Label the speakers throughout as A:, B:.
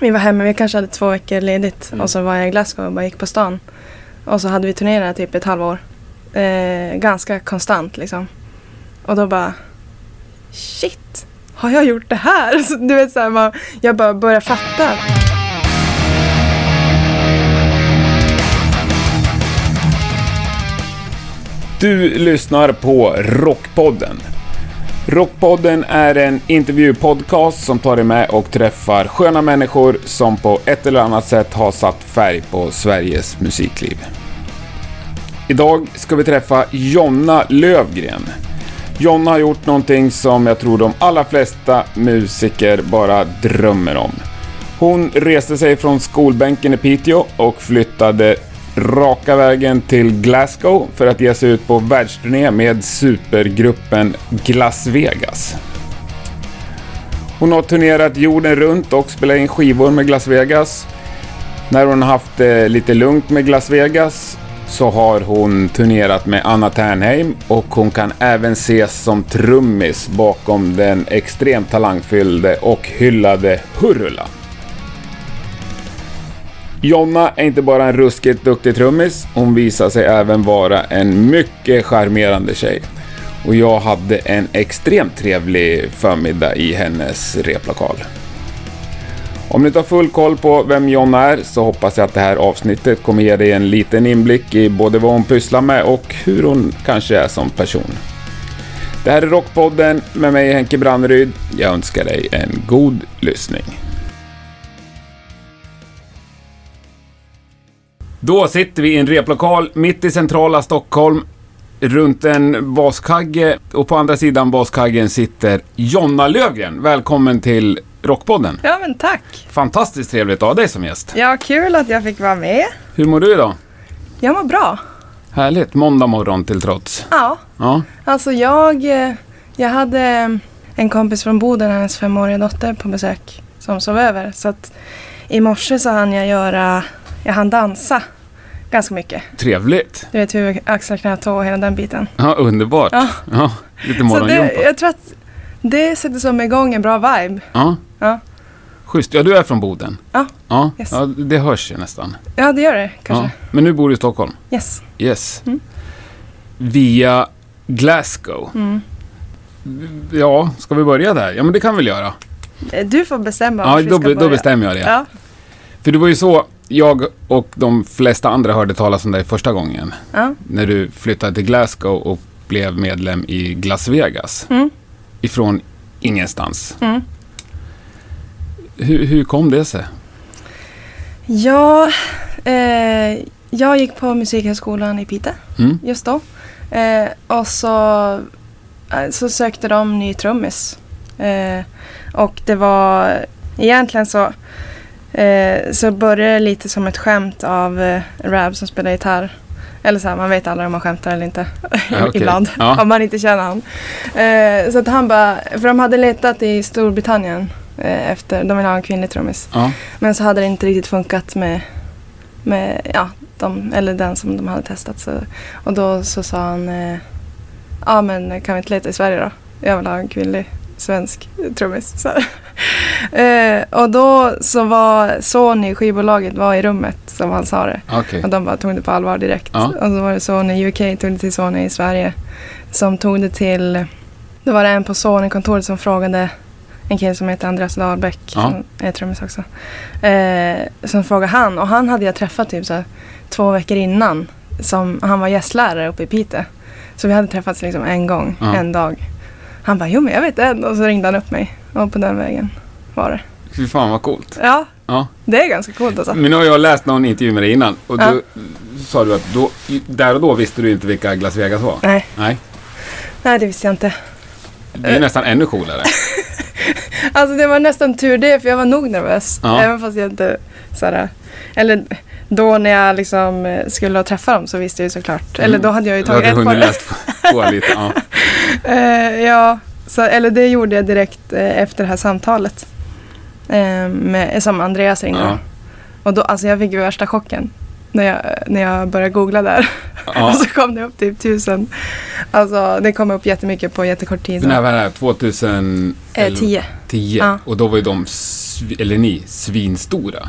A: Vi var hemma, vi kanske hade två veckor ledigt
B: Mm.
A: och så var jag i Glasgow och bara gick på stan. Och så hade vi turnerat typ ett halvår. Eh, ganska konstant liksom. Och då bara shit, har jag gjort det här? Så, du vet så här, man, jag bara börjar fatta.
B: Du lyssnar på Rockpodden. Rockpodden är en intervjupodcast som tar dig med och träffar sköna människor som på ett eller annat sätt har satt färg på Sveriges musikliv. Idag ska vi träffa Jonna Lövgren. Jonna har gjort någonting som jag tror de allra flesta musiker bara drömmer om. Hon reste sig från skolbänken i Piteå och flyttade raka vägen till Glasgow för att ge sig ut på världsturné med supergruppen Glas Vegas. Hon har turnerat jorden runt och spelat in skivor med Glas Vegas. När hon har haft det lite lugnt med Glas Vegas så har hon turnerat med Anna Ternheim och hon kan även ses som trummis bakom den extremt talangfyllde och hyllade Hurula. Jonna är inte bara en ruskigt duktig trummis, hon visar sig även vara en mycket charmerande tjej. Och jag hade en extremt trevlig förmiddag i hennes replokal. Om ni inte har full koll på vem Jonna är så hoppas jag att det här avsnittet kommer ge dig en liten inblick i både vad hon pysslar med och hur hon kanske är som person. Det här är Rockpodden med mig Henke Branneryd. Jag önskar dig en god lyssning. Då sitter vi i en replokal mitt i centrala Stockholm runt en baskagge och på andra sidan baskaggen sitter Jonna Lövgren. Välkommen till Rockpodden.
A: Ja men tack.
B: Fantastiskt trevligt att ha dig som gäst.
A: Ja kul att jag fick vara med.
B: Hur mår du idag?
A: Jag mår bra.
B: Härligt, måndag morgon till trots.
A: Ja,
B: Ja,
A: alltså jag, eh, jag hade eh, en kompis från Boden, hennes femåriga dotter på besök som sov över. Så att i morse så hann jag göra, jag hann dansa ganska mycket.
B: trevligt.
A: Du vet huvud, axlar, knä, tå och hela den biten.
B: Ja, underbart.
A: Ja.
B: Ja, lite
A: Så det,
B: morgongympa.
A: jag tror att det sätter som igång en bra vibe.
B: Ja.
A: Ja.
B: Schysst. Ja, du är från Boden?
A: Ja.
B: Ja,
A: Yes.
B: ja det hörs ju nästan.
A: Ja, det gör det
B: Ja.
A: kanske.
B: Men nu bor du i Stockholm?
A: Yes.
B: Yes.
A: Mm.
B: Via Glasgow.
A: Mm.
B: Ja, ska vi börja där? Ja, men det kan vi väl göra.
A: Eh, Du får bestämma
B: Ja,
A: vart vi
B: då,
A: ska
B: be- då
A: börja.
B: bestämmer jag det.
A: Ja.
B: För det var ju så jag och de flesta andra hörde talas om dig första gången.
A: Ja.
B: När du flyttade till Glasgow och blev medlem i Glas Vegas.
A: Mm.
B: Ifrån ingenstans.
A: Mm.
B: Hur, hur kom det sig?
A: Ja, eh, jag gick på Musikhögskolan i Piteå
B: Mm.
A: just då. Eh, och så, eh, så sökte de ny trummis. Eh, och det var egentligen så, eh, så började det lite som ett skämt av eh, Rab som spelar gitarr. Eller så här, man vet aldrig om man skämtar eller inte.
B: Ja, Ah, okej.
A: Ibland,
B: Ja.
A: om man inte känner han. Eh, så att han bara, för de hade letat i Storbritannien eh, efter, de ville ha en kvinnlig trummis.
B: Ja.
A: Men så hade det inte riktigt funkat med, med ja, de, eller den som de hade testat. Så, och då så sa han, eh, ja men kan vi inte leta i Sverige då? Jag vill ha en kvinnlig svensk trummis. Så. här. eh, och då så var Sony, skivbolaget, var i rummet som han sa det.
B: Okej.
A: Och de bara tog det på allvar direkt.
B: Ja.
A: Och så var det Sony UK, tog det till Sony i Sverige. Som tog det till, då var det en på Sony-kontoret som frågade en kille som heter Andreas Dahlbäck,
B: Ja.
A: som är trummis också. Eh, som frågade han, och han hade jag träffat typ så här, två veckor innan. Som, han var gästlärare uppe i Piteå. Så vi hade träffats liksom en gång,
B: Ja.
A: en dag. Han bara, jo men jag vet en. Och så ringde han upp mig. Och på den vägen var det.
B: Fy fan vad coolt.
A: Ja,
B: Ja.
A: det är ganska coolt alltså.
B: Men nu har jag läst någon intervju med dig innan och då
A: Ja.
B: sa du att då, där och då visste du inte vilka Glas Vegas var.
A: Nej,
B: Nej.
A: nej det visste jag inte.
B: Det
A: Eh.
B: är nästan ännu coolare.
A: Alltså det var nästan tur det för jag var nog nervös.
B: Ja.
A: Även fast jag inte såhär, Eller då när jag liksom eh, skulle träffa dem så visste jag ju såklart. Eller då hade jag ju
B: Du
A: tagit
B: Mm.
A: ett par.
B: hade hunnit läst på, på lite. Ja.
A: Eh, ja, så, eller det gjorde jag direkt eh, efter det här samtalet. Eh, med, som Andreas ringde.
B: Ja.
A: Och då, alltså jag fick ju värsta chocken. När jag, när jag började googla där.
B: Ja.
A: Och så kom det upp typ tusen. Alltså det kom upp jättemycket på jättekort tid.
B: Den här var 2010.
A: Eh, tio. Ja.
B: Och då var ju de s- sv- eller ni, svinstora.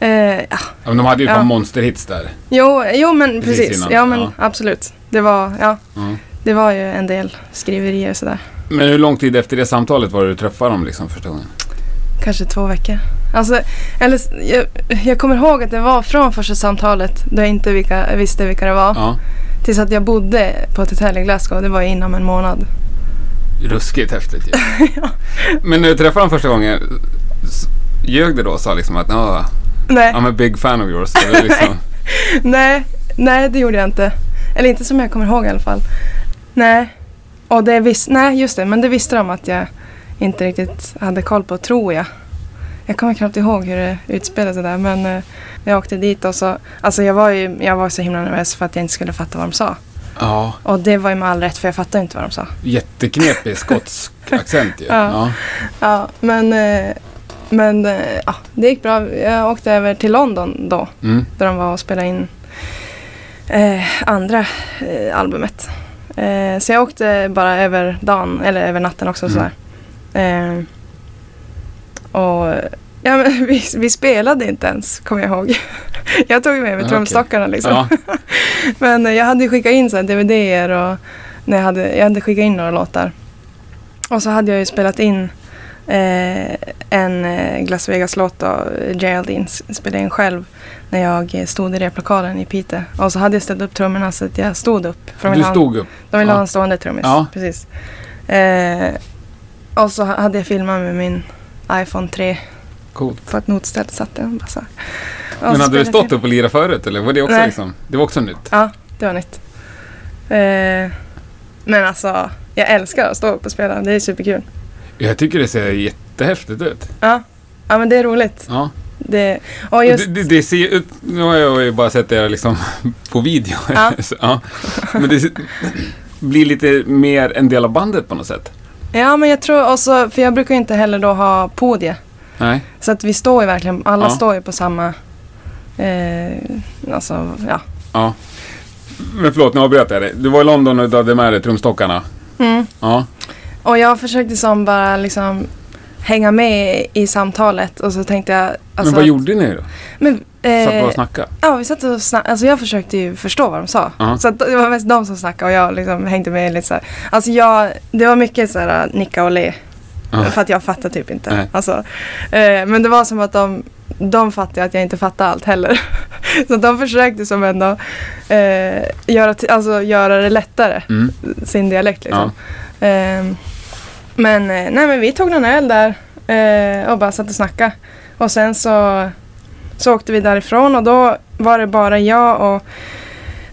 A: Eh, ja.
B: Ja, men De hade ju ett
A: Ja.
B: par monsterhits där.
A: jo, jo, men
B: Precis
A: precis.
B: innan,
A: ja, men
B: ja.
A: absolut. Det var, ja,
B: Ja.
A: det var ju en del skriverier och sådär.
B: Men hur lång tid efter det samtalet var det du träffade dem liksom första gången?
A: Kanske två veckor. Alltså, eller, s- jag, jag kommer ihåg att det var från första samtalet då jag inte vilka, visste vilka det var.
B: Ja.
A: Tills att jag bodde på ett hotell i Glasgow. Det var ju inom en månad.
B: Ruskigt häftigt ju. Men när du träffade dem första gången, s- ljög du då och sa liksom att "Ah,
A: Nej,
B: I'm a big fan of yours? Eller liksom,
A: nej, nej, det gjorde jag inte. Eller inte som jag kommer ihåg i alla fall. Nej, och det vis- nej just det. Men det visste de att jag inte riktigt hade koll på, tror jag. Jag kommer knappt ihåg hur det utspelade sig där. Men eh, jag åkte dit och så... Alltså jag var ju jag var så himla nervös för att jag inte skulle fatta vad de sa.
B: ja,
A: Och det var ju med all rätt för jag fattade inte vad de sa.
B: jätteknepig skotsk accent ju.
A: Ja.
B: Ja.
A: Ja, men, eh, men eh, ja, det gick bra. Jag åkte över till London då,
B: Mm.
A: där de var och spelade in eh, andra eh, albumet. Eh, så jag åkte bara över dagen, eller över natten också.
B: Mm.
A: Sådär. Eh, och ja, men vi, vi spelade inte ens, kommer jag ihåg. jag tog med
B: Ah,
A: mig
B: okej.
A: trumstockarna liksom.
B: Ja.
A: Men eh, jag hade ju skickat in så här DVDer och när jag, hade, jag hade skickat in några låtar. Och så hade jag ju spelat in eh, en eh, Las Vegas-låt då, Geraldine s- spelade in själv när jag eh, stod i replokalen i Piteå. Och så hade jag ställt upp trummorna så att jag stod upp. för de
B: Du
A: ville ha en-
B: stod upp.
A: de ville
B: Ja.
A: ha en stående trummis.
B: Ja.
A: Precis. Eh, och så ha- hade jag filmat med min iPhone 3
B: Coolt.
A: på ett notställ. Satt den bara så här. Och så
B: Men hade du
A: spelade
B: stått
A: jag-
B: upp och lirat förut eller var det också
A: Nej.
B: liksom? Det var också nytt.
A: Ja, det var nytt. Eh, men alltså, jag älskar att stå upp och spela. Det är superkul.
B: Jag tycker det ser jättehäftigt ut.
A: Ja, ja men det är roligt.
B: Ja.
A: Det, och
B: Just...
A: just,
B: Det, det, det ser ju ut... Nu har jag ju bara sett er liksom på video.
A: Ja.
B: Så, ja. Men det ser- blir lite mer en del av bandet på något sätt.
A: ja, men jag tror också, för jag brukar ju inte heller då ha podie.
B: Nej.
A: Så att vi står ju verkligen, alla
B: Ja.
A: står ju på samma... Eh, alltså, ja.
B: Ja. Men förlåt, nu avbröt jag dig. Du var i London och du hade med dig trumstockarna.
A: Mm.
B: Ja.
A: Och jag försökte som bara liksom hänga med i samtalet och så tänkte jag...
B: Men
A: Alltså,
B: vad gjorde ni då?
A: Men,
B: Satt bara
A: eh,
B: och snackade?
A: Ja, vi satt och snackade. Alltså jag försökte ju förstå vad de sa.
B: Ja.
A: Så att det var mest de som snackade och jag liksom hängde med lite så här. Alltså jag, det var mycket så här äh, nicka och le.
B: Ja.
A: För att jag fattar typ inte.
B: Nej.
A: Alltså, eh, men det var som att de, de fattade att jag inte fattade allt heller. så att de försökte som ändå eh, göra, t- alltså, göra det lättare,
B: Mm.
A: sin dialekt liksom. Ehm, men, eh, nej, men vi tog någon öl där eh, och bara satt och snackade. Och sen så, så åkte vi därifrån och då var det bara jag och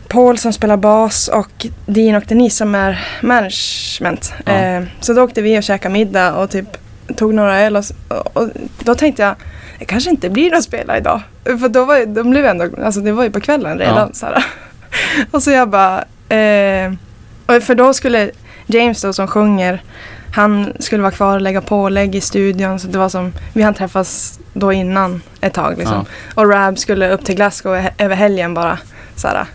A: Paul som spelar bas och Dean och Denise som är management.
B: Ja.
A: Ehm, så då åkte vi och käkade middag och typ tog några öl och, s- och, och då tänkte jag det kanske inte blir någon spela idag. För då var ju, de blev ändå, alltså det var ju på kvällen redan.
B: Ja.
A: Så här. Och så jag bara, eh, och för då skulle James då som sjunger, han skulle vara kvar och lägga pålägg i studion. Så det var som, vi hann träffas då innan ett tag liksom. Och Rab skulle upp till Glasgow he- över helgen bara. Så, här.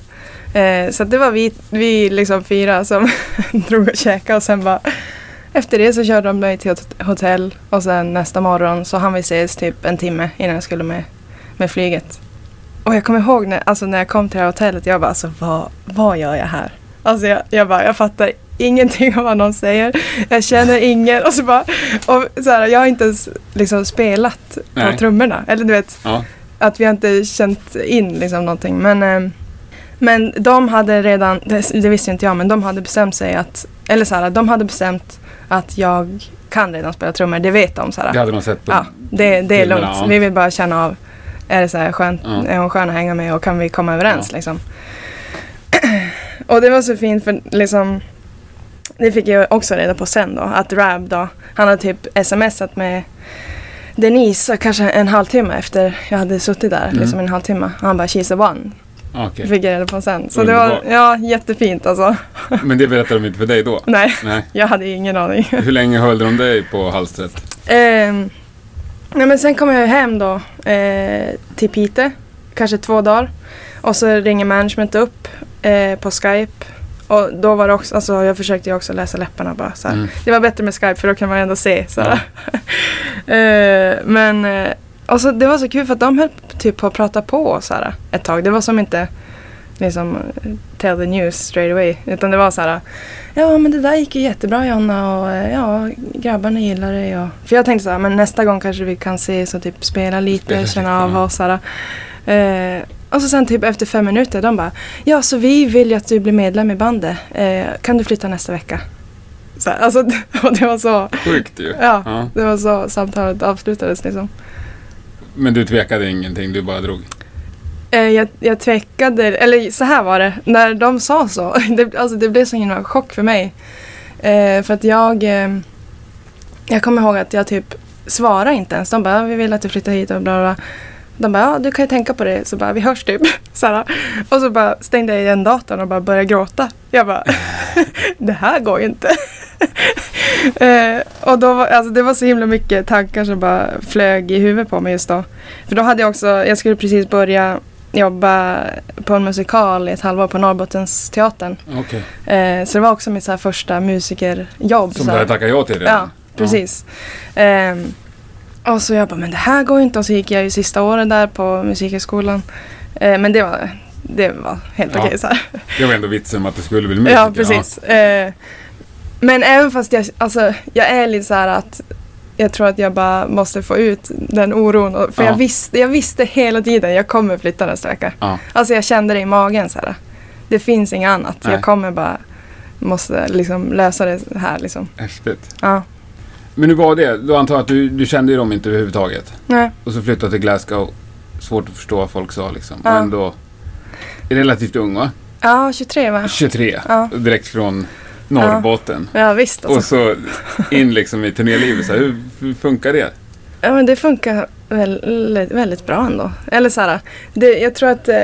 A: Eh, så att det var vi, vi liksom fyra som drog och käkade och sen bara efter det så körde de mig till ett hotell och sen nästa morgon så hann vi ses typ en timme innan jag skulle med, med flyget. Och jag kommer ihåg när, alltså när jag kom till det här hotellet, jag bara alltså vad, vad gör jag här? Alltså jag, jag bara, jag fattar ingenting av vad någon säger. Jag känner ingen och så bara, och så här, jag har inte ens liksom spelat
B: Nej.
A: på trummorna. Eller du vet,
B: Ja.
A: att vi har inte känt in liksom någonting. Men, eh, men de hade redan, det, det visste inte jag, men de hade bestämt sig att, eller så här, de hade bestämt att jag kan redan spela trummor, det vet de. Så här.
B: Det hade man sett på...
A: Ja, det, det är
B: Filmerna,
A: lugnt.
B: ja.
A: Vi vill bara känna av. Är det så här skönt?
B: Ja.
A: Är hon skön att hänga med och kan vi komma överens
B: Ja.
A: liksom? Och det var så fint för liksom det fick jag också reda på sen då. Att Rab då, han hade typ smsat med Denise kanske en halvtimme efter jag hade suttit där.
B: Mm.
A: Liksom en halvtimme. Och han bara “She's the one”.
B: Okej.
A: Fick jag reda på sen. Så det
B: Underbart.
A: var ja, jättefint alltså.
B: Men det berättade de inte för dig då?
A: Nej,
B: Nej.
A: jag hade ingen aning.
B: Hur länge höll de dig på halstret?
A: Ehm, nej men sen kom jag ju hem då eh, till Piteå, kanske två dagar. Och så ringer management upp eh, på Skype Och då var det också, alltså jag försökte ju också läsa läpparna bara så här.
B: Mm.
A: Det var bättre med Skype för då kan man ändå se så här. Eh, Men eh, och så, det var så kul för att de höll typ på att prata på så här ett tag. Det var som inte liksom eh, tell the news straight away. Utan det var så här. Ja men det där gick ju jättebra Jonna och eh, ja grabbarna gillar det. Och, för jag tänkte så här men nästa gång kanske vi kan ses och typ spela lite,
B: Spela lite,
A: känna av
B: ja.
A: oss. Så här. Eh, och så sen typ efter fem minuter de bara Ja så vi vill ju att du blir medlem i bandet. Eh, kan du flytta nästa vecka? Så här, alltså och det var så.
B: Sjukt ju.
A: Ja.
B: Ja.
A: Det var så samtalet avslutades liksom.
B: Men du tvekade ingenting, du bara drog.
A: Eh, Jag, jag tvekade, eller så här var det, när de sa så, det, alltså det blev så himla chock för mig. Eh, för att jag, eh, jag kommer ihåg att jag typ svarade inte ens. De bara, "Ja, vi vill att du flyttar hit och bla bla. bla. De bara, ja du kan ju tänka på det. Så bara, vi hörs typ. Så här. Och så bara stängde jag igen datorn och bara började gråta. Jag bara, det här går ju inte. eh, och då var, alltså det var så himla mycket tankar som bara flög i huvudet på mig just då. För då hade jag också, jag skulle precis börja jobba på en musikal i ett halvår på Norrbottens teatern.
B: Okej.
A: Eh, så det var också mitt så här första musikerjobb. så
B: Som du
A: här.
B: hade tackat ja till redan.
A: Ja, precis. Ehm, och så jag bara, men det här går ju inte. Och så gick jag ju sista året där på musikhögskolan. Eh, men det var, det var helt
B: Ja.
A: okej så här.
B: Det var ändå vitsen med att du skulle bli musiker.
A: Ja, precis. Eh, men även fast jag, alltså, jag är lite så här att jag tror att jag bara måste få ut den oron. Och- För
B: Ja.
A: jag, visste, jag visste hela tiden, jag kommer flytta nästa vecka.
B: Ja.
A: Alltså jag kände det i magen så här. Det finns inget annat.
B: Nej.
A: Jag kommer bara, måste liksom lösa det här liksom.
B: Ja, häftigt.
A: Ja.
B: Men hur var det? Du antar jag att du, du kände ju dem inte överhuvudtaget.
A: Nej.
B: Och så flyttade till Glasgow. Svårt att förstå vad folk sa liksom.
A: Ja.
B: Men då... Är relativt ung va?
A: Ja, 23 va?
B: 23.
A: Ja.
B: Direkt från Norrbotten.
A: Ja visst
B: Och
A: alltså.
B: så in liksom i turnélivet. Så här, hur, hur funkar det?
A: Ja, men det funkar väldigt, väldigt bra ändå. Eller så här, det, jag tror att eh,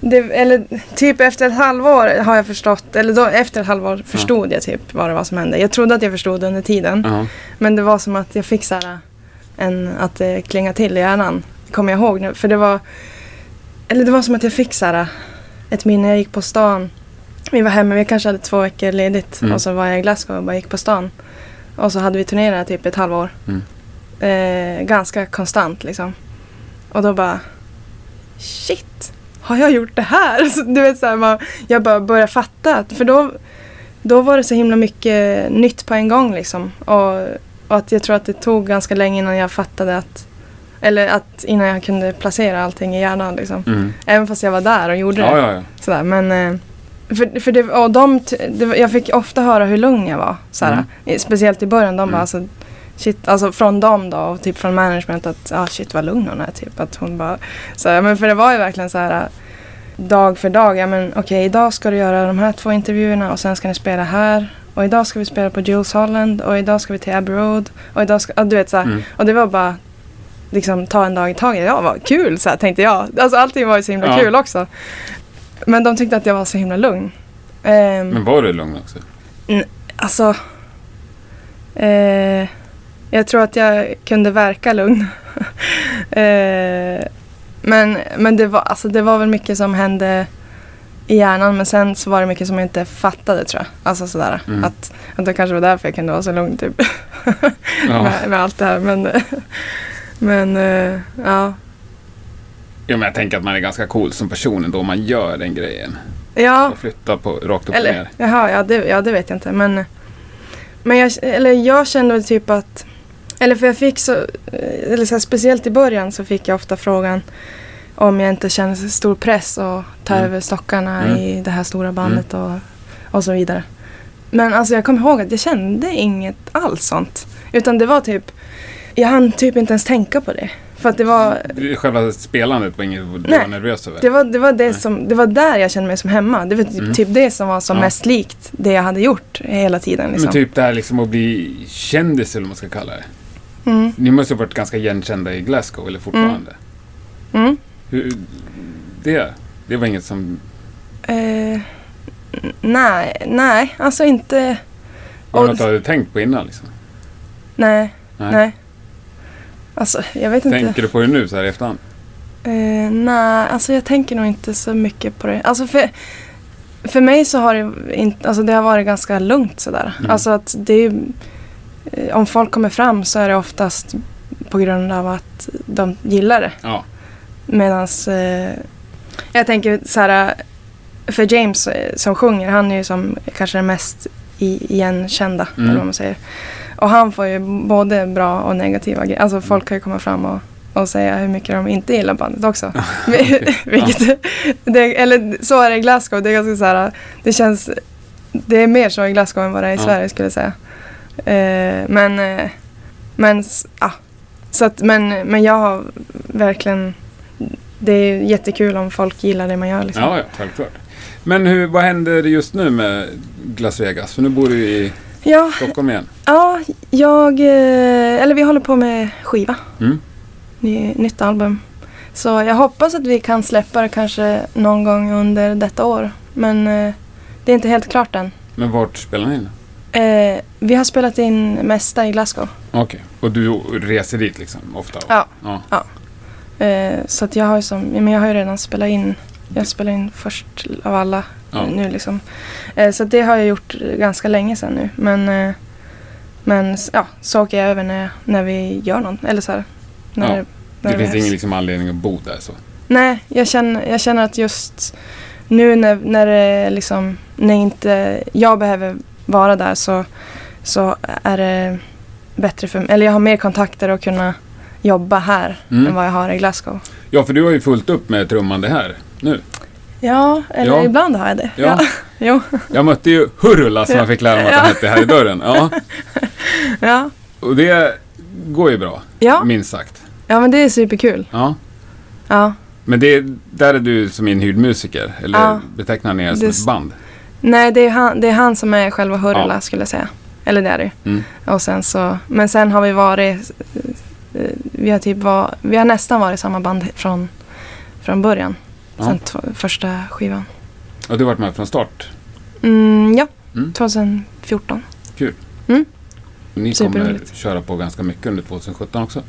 A: det, eller typ efter ett halvår har jag förstått, eller då, efter ett halvår förstod jag typ vad det var som hände. Jag trodde att jag förstod under tiden,
B: Ja.
A: men det var som att jag fick så här en, att det klingade till i hjärnan. Kommer jag ihåg nu, för det var, eller det var som att jag fick så här äh, ett minne. Jag gick på stan, vi var hemma, vi kanske hade två veckor ledigt
B: Mm.
A: och så var jag i Glasgow och bara gick på stan. Och så hade vi turnerat typ ett halvår eh, ganska konstant liksom. Och då bara shit, har jag gjort det här? Så, du vet så här, man, jag bara började fatta. att- För då, då var det så himla mycket nytt på en gång liksom. Och, och att jag tror att det tog ganska länge innan jag fattade att eller att innan jag kunde placera allting i hjärnan liksom.
B: Mm.
A: Även fast jag var där och gjorde
B: Ja,
A: det.
B: ja, ja.
A: Sådär, men, eh, för, för det, och de, t- det, var- jag fick ofta höra hur lugn jag var. Såhär,
B: Mm.
A: I- Speciellt i början. De
B: Mm.
A: bara, alltså, shit, alltså, från dem då och typ från management att ah, shit vad lugn hon är. Typ, att hon bara, såhär, men för det var ju verkligen så här dag för dag. Ja, men, okej, idag ska du göra de här två intervjuerna och sen ska ni spela här. Och idag ska vi spela på Jules Holland och idag ska vi till Abbey Road. Och idag ska, ah, du vet, såhär,
B: Mm.
A: och det var bara liksom ta en dag i taget. Ja, vad kul så här, tänkte jag. Alltså allting var ju så himla
B: Ja.
A: kul också. Men de tyckte att jag var så himla lugn. Ehm,
B: Men var du lugn också?
A: Alltså, eh, jag tror att jag kunde verka lugn. eh, men men det, var, alltså, det var väl mycket som hände i hjärnan men sen så var det mycket som jag inte fattade tror jag. Alltså sådär.
B: Mm.
A: Att, att det kanske var därför jag kunde vara så lugn typ
B: Ja.
A: med, med allt det här. Men, men eh, ja.
B: ja, men jag tänker att man är ganska cool som person ändå om man gör den grejen.
A: Ja,
B: Och flyttar på, rakt upp och
A: eller
B: ner.
A: jaha, ja det, ja, det vet jag inte. Men, men jag, eller jag kände väl typ att, eller för jag fick så, eller så här, speciellt i början så fick jag ofta frågan om jag inte kände så stor press att ta
B: Mm.
A: över stockarna
B: Mm.
A: i det här stora bandet och, och så vidare. Men alltså jag kommer ihåg att jag kände inget alls sånt. Utan det var typ, jag hann typ inte ens tänka på det. För att det var,
B: Själva spelandet var inget du var
A: Nej.
B: nervös över?
A: det var, det var, det som, det var där jag kände mig som hemma. Det var typ,
B: Mm.
A: typ det som var som
B: Ja.
A: mest likt det jag hade gjort hela tiden. Liksom.
B: Men typ det här liksom att bli kändis eller vad man ska kalla det.
A: mm.
B: Ni måste ha varit ganska igenkända i Glasgow, eller fortfarande.
A: Mm.
B: Hur, det, det var inget som...
A: Eh, n- nej, nej, alltså inte...
B: Var
A: Och-
B: det något du hade tänkt på innan liksom?
A: Nej,
B: Nej.
A: nej. Alltså, jag vet inte.
B: Tänker du på det nu så här i efterhand?
A: Eh, nej, alltså jag tänker nog inte så mycket på det. Alltså för, För mig så har det, inte, alltså det har varit ganska lugnt sådär.
B: Mm.
A: Alltså att det är, eh, om folk kommer fram så är det oftast på grund av att de gillar det.
B: Ja.
A: Medan eh, jag tänker så här, för James eh, som sjunger, han är ju som kanske den mest i- igenkända,
B: Mm.
A: eller vad man säger. Och han får ju både bra och negativa grejer. Alltså
B: Mm.
A: folk kan ju komma fram och, och säga hur mycket de inte gillar bandet också.
B: okej.
A: Vilket, det, eller så är det i Glasgow. Det är ganska så här, det känns, det är mer så i Glasgow än vad det är i
B: Ja.
A: Sverige skulle jag säga. Eh, men, eh, men, s- ja. Så att, men, men jag har verkligen, det är jättekul om folk gillar det man gör liksom.
B: Ja, ja, självklart. Men hur, vad händer just nu med Las Vegas? För nu bor du i
A: Ja,
B: Stockholm igen.
A: ja jag, eh, eller vi håller på med skiva.
B: Mm.
A: Ny, nytt album. Så jag hoppas att vi kan släppa det kanske någon gång under detta år. Men eh, det är inte helt klart än.
B: Men vart spelar ni in?
A: Eh, vi har spelat in mesta i Glasgow.
B: Okej, och du reser dit liksom ofta?
A: Ja.
B: ja.
A: Eh, så att jag har ju som, men jag har ju redan spelat in. Jag spelar in först av alla
B: Ja.
A: nu liksom. Eh, så att det har jag gjort ganska länge sedan nu. Men, eh, men s- ja, så åker jag över när, när vi gör någon. Eller så här. När,
B: Ja.
A: när
B: Det finns
A: behövs.
B: ingen liksom anledning att bo där så?
A: Nej, jag känner, jag känner att just nu när, när det liksom, när inte jag behöver vara där så, så är det bättre för mig. Eller jag har mer kontakter och kunna jobba här
B: Mm.
A: än vad jag har i Glasgow.
B: Ja, för du har ju fullt upp med trummande här nu.
A: Ja, eller
B: Ja.
A: ibland har jag det.
B: Ja.
A: Jo.
B: Jag mötte ju Hurula som jag fick lära mig att han
A: Ja.
B: hette här i dörren. Ja.
A: Ja.
B: Och det går ju bra,
A: Ja.
B: minst sagt.
A: ja, men det är superkul.
B: Ja.
A: Ja.
B: Men det, där är du som inhyrd musiker, eller
A: Ja.
B: betecknar ni er som
A: Det-
B: ett band?
A: Nej, det är, han, det är han som är själva Hurula
B: Ja.
A: skulle jag säga. Eller det är det ju.
B: Mm.
A: Och sen så, men sen har vi varit, eh, vi har, typ var, vi har nästan varit samma band från, från början.
B: Ja.
A: Sen t- första skivan.
B: Och du har varit med från start?
A: Mm, ja,
B: Mm.
A: 2014.
B: Ni kommer
A: Superroligt.
B: köra på ganska mycket under 2017 också?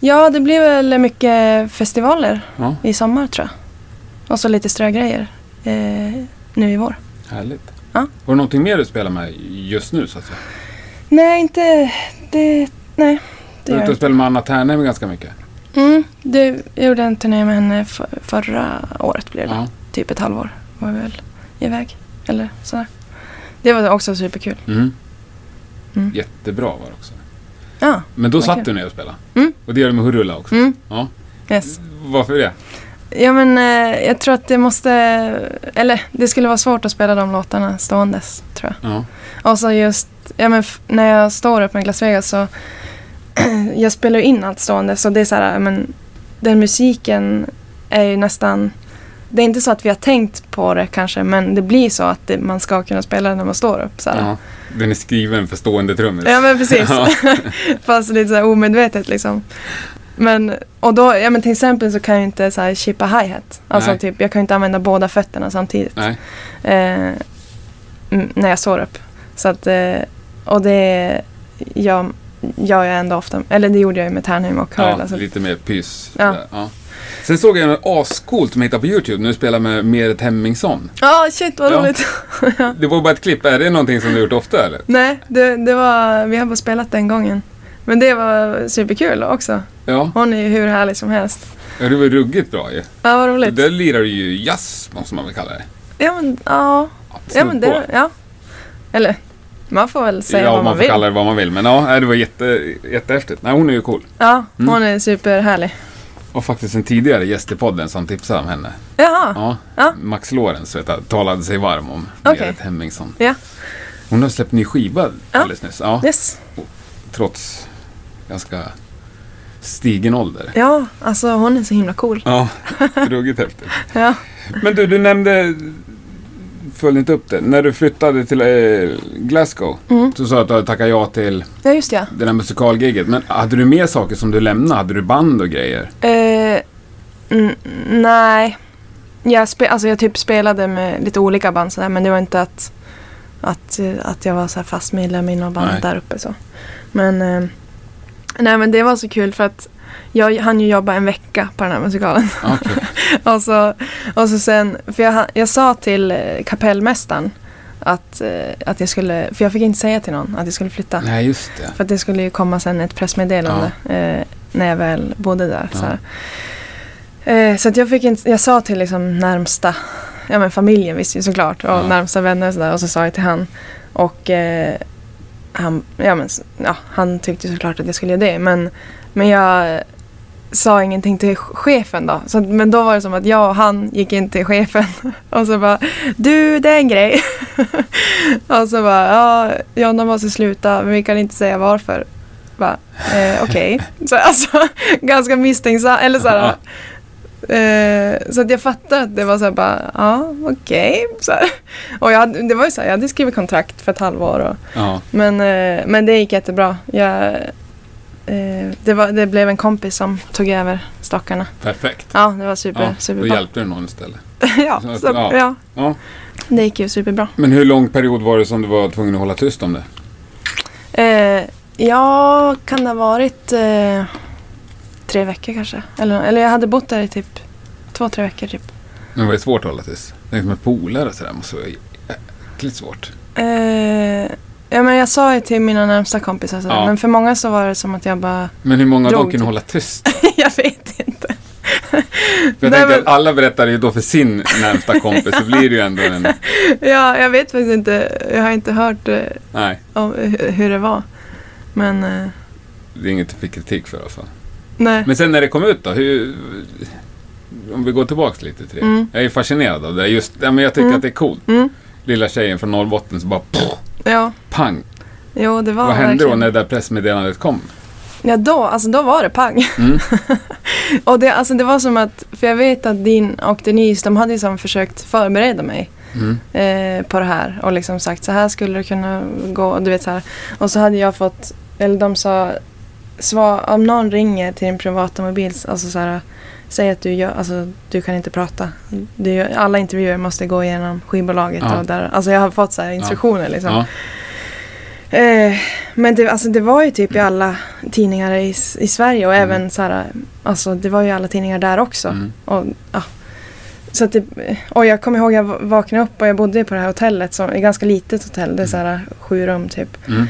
A: Ja, det blir väl mycket festivaler
B: Ja,
A: i sommar tror jag. Och så lite strögrejer eh, nu i vår.
B: härligt.
A: Ja.
B: Var det någonting mer du spelar med just nu så att säga?
A: Nej, inte det. Nej, det
B: du
A: gör
B: har ute
A: jag
B: och spelat med Anna Ternheim ganska mycket?
A: inte. Mm, du, jag gjorde en turné med henne för, förra året blev det.
B: Ja.
A: Typ ett halvår var vi väl iväg. Eller sådär. Det var också superkul.
B: Mm.
A: Mm.
B: Jättebra var det också.
A: Ja,
B: Men då
A: Vad
B: satt
A: kul.
B: du ner och spelade?
A: Mm.
B: Och det gör du med Hurula också?
A: mm,
B: Ja.
A: yes.
B: Varför det?
A: Ja men eh, jag tror att det måste, eller det skulle vara svårt att spela de låtarna ståendes tror
B: Ja.
A: jag. Och så just, ja men f- när jag står upp med Las Vegas så, jag spelar ju in allt stående så det är så här, ja, men den musiken är ju nästan, det är inte så att vi har tänkt på det kanske men det blir så att det, man ska kunna spela den när man står upp. Så här.
B: ja. Den är skriven för stående trummis.
A: Ja men precis.
B: Ja.
A: Fast lite så här omedvetet liksom. Men, och då, ja men till exempel så kan jag inte så här chippa hi-hat. Alltså
B: Nej.
A: typ, jag kan ju inte använda båda fötterna samtidigt.
B: Nej.
A: Eh, m- när jag står upp. Så att, eh, och det gör, gör jag ändå ofta. Eller det gjorde jag ju med Ternheim och Hurl.
B: Ja,
A: alltså.
B: lite mer pys.
A: Ja.
B: där. Ja. Sen såg jag något ascoolt som jag hittade på YouTube när du spelade med Merit Hemmingsson.
A: Ja, Ah, shit vad
B: Ja.
A: roligt.
B: Det var bara ett klipp. Är det någonting som du gjort ofta eller?
A: Nej, det, det var, vi har bara spelat den gången. Men det var superkul också.
B: Ja,
A: Hon är ju hur härlig som helst.
B: ja det var ruggigt bra ju.
A: Ja, vad roligt.
B: Där lirar du ju jazz, måste man väl kalla det.
A: Ja men, ja. Ja, men det, ja. Eller, man får väl säga
B: ja,
A: vad man
B: man får
A: vill.
B: kalla det vad man vill. Men ja, nej, det var jätte, jättehäftigt. Nej, hon är ju cool.
A: Ja,
B: Mm.
A: hon är superhärlig.
B: Och faktiskt en tidigare gäst i podden som tipsade om henne.
A: Jaha,
B: Ja.
A: Ja.
B: Max Lorenz vet jag, talade sig varm om
A: Okej.
B: Merit Hemmingsson.
A: ja.
B: Hon har släppt ny skiva
A: Ja.
B: alldeles nyss. Ja,
A: Yes.
B: trots ganska stigen ålder.
A: Ja, alltså hon är så himla cool.
B: Ja, ruggigt häftigt.
A: Ja.
B: Men du, du nämnde, följde inte upp det, när du flyttade till eh, Glasgow
A: Mm.
B: så sa du att du hade tackat ja till
A: Ja, just ja.
B: det där musikalgiget. Men hade du mer saker som du lämnade? Hade du band och grejer?
A: Eh, n- nej. Jag, spe, alltså jag typ spelade med lite olika band sådär, men det var inte att, att, eh, att jag var så här fast medlem i något band
B: Nej.
A: där uppe. Så. Men, eh, nej, men det var så kul för att jag hann ju jobba en vecka på den här musikalen.
B: Okej.
A: och, så, och så sen, för jag, jag sa till eh, kapellmästaren att, eh, att jag skulle, för jag fick inte säga till någon att jag skulle flytta.
B: Nej, just det.
A: För att det skulle ju komma sen ett pressmeddelande eh, när jag väl bodde där.
B: Ja.
A: Så, här. Eh, så att jag, fick inte, jag sa till liksom närmsta, ja men familjen visste ju såklart och
B: Ja.
A: närmsta vänner och sådär och så sa jag till han. Och eh, han, ja, men, s- ja, han tyckte ju såklart att jag skulle göra det men, men jag eh, sa ingenting till ch- chefen då. Så, att- men då var det som att jag och han gick in till chefen och så bara du det är en grej. och så bara ja Jonna måste sluta men vi kan inte säga varför. Bara, Eh, Okej, Så alltså ganska misstänksam. Eller så här, eh, så att jag fattar att det var så här bara, ja okej. Så här. Och jag hade, det var ju så här, jag hade skrivit kontrakt för ett halvår. Och,
B: Ja.
A: men, eh, men det gick jättebra. Jag, eh, det, var, det blev en kompis som tog över stockarna.
B: Perfekt.
A: Ja, det var super,
B: Ja, då
A: superbra.
B: hjälpte du någon istället.
A: ja, så,
B: Ja.
A: ja,
B: Ja.
A: det gick ju superbra.
B: Men hur lång period var det som du var tvungen att hålla tyst om det?
A: Eh, ja, kan det ha varit eh, tre veckor kanske? Eller, eller jag hade bott där i typ två, tre veckor typ.
B: Men var det svårt att hålla tyst? Tänk med polare och sådär måste vara jäkligt svårt.
A: Eh, ja, men jag sa ju till mina närmsta kompisar så,
B: Ja.
A: men för många så var det som att jag bara,
B: Men hur många av dem
A: Drog
B: kunde
A: typ.
B: hålla tyst? För
A: jag vet inte.
B: jag
A: Nej,
B: tänkte
A: men-
B: att alla berättar ju då för sin närmsta kompis så blir det ju ändå en...
A: Ja, jag vet faktiskt inte, jag har inte hört eh,
B: Nej,
A: om hu- hur det var. Men eh,
B: det är inget du fick kritik för i alla fall.
A: nej.
B: Men sen när det kom ut då? Hur... Om vi går tillbaks lite till det.
A: Mm.
B: Jag är fascinerad av det. Just, ja, men jag tycker
A: Mm.
B: att det är coolt.
A: Mm,
B: Lilla tjejen från Norrbotten som bara pff,
A: ja,
B: pang.
A: jo det var
B: Vad hände då
A: verkligen-
B: när det där pressmeddelandet kom?
A: Ja, då, alltså då var det pang.
B: Mm.
A: och det, alltså, det var som att, för jag vet att din och Denise, de hade ju som försökt förbereda mig.
B: Mm.
A: eh, på det här och liksom sagt så här skulle det kunna gå. och Du vet, så här. Och så hade jag fått, eller de sa, svar, om någon ringer till din privata mobil, alltså så här, säg att du, gör, alltså, du kan inte prata. Du, gör- alla intervjuer måste gå igenom skivbolaget.
B: Ja.
A: Och där, alltså jag har fått så här instruktioner. Liksom.
B: Ja.
A: Eh, men det, alltså, det var ju typ i alla tidningar i, S- i Sverige och
B: Mm.
A: även så här, alltså det var ju alla tidningar där också.
B: Mm.
A: Och, ja. Så att det, och jag kommer ihåg jag vaknade upp och jag bodde på det här hotellet, som är ett ganska litet hotell, det är så här sju rum typ.
B: Mm.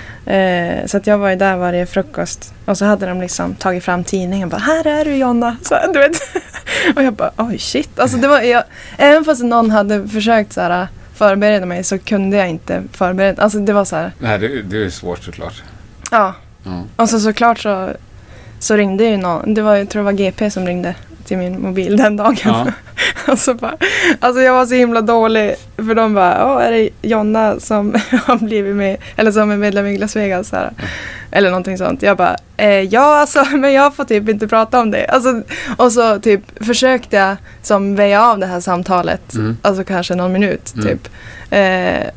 A: Eh, så att jag var ju där varje frukost och så hade de liksom tagit fram tidningen och bara “Här är du Jonna!” så, här, du vet. Och jag bara “Oj shit!” alltså, det var, jag, Även fast någon hade försökt så här, äh, förbereda mig så kunde jag inte förbereda Alltså det var så här,
B: Nej, det, det är svårt såklart.
A: ja.
B: Ja.
A: Och så såklart så, så ringde ju någon, det var, jag tror det var GP som ringde till min mobil den dagen.
B: Ja.
A: Och så bara, alltså jag var så himla dålig för de bara, Åh, är det Jonna som har blivit med, eller som är medlem i Las Vegas? Så här. Eller någonting sånt. Jag bara, eh, ja alltså men jag får typ inte prata om det. Alltså, och så typ försökte jag som väja av det här samtalet,
B: Mm.
A: alltså kanske någon minut
B: Mm.
A: typ. Eh,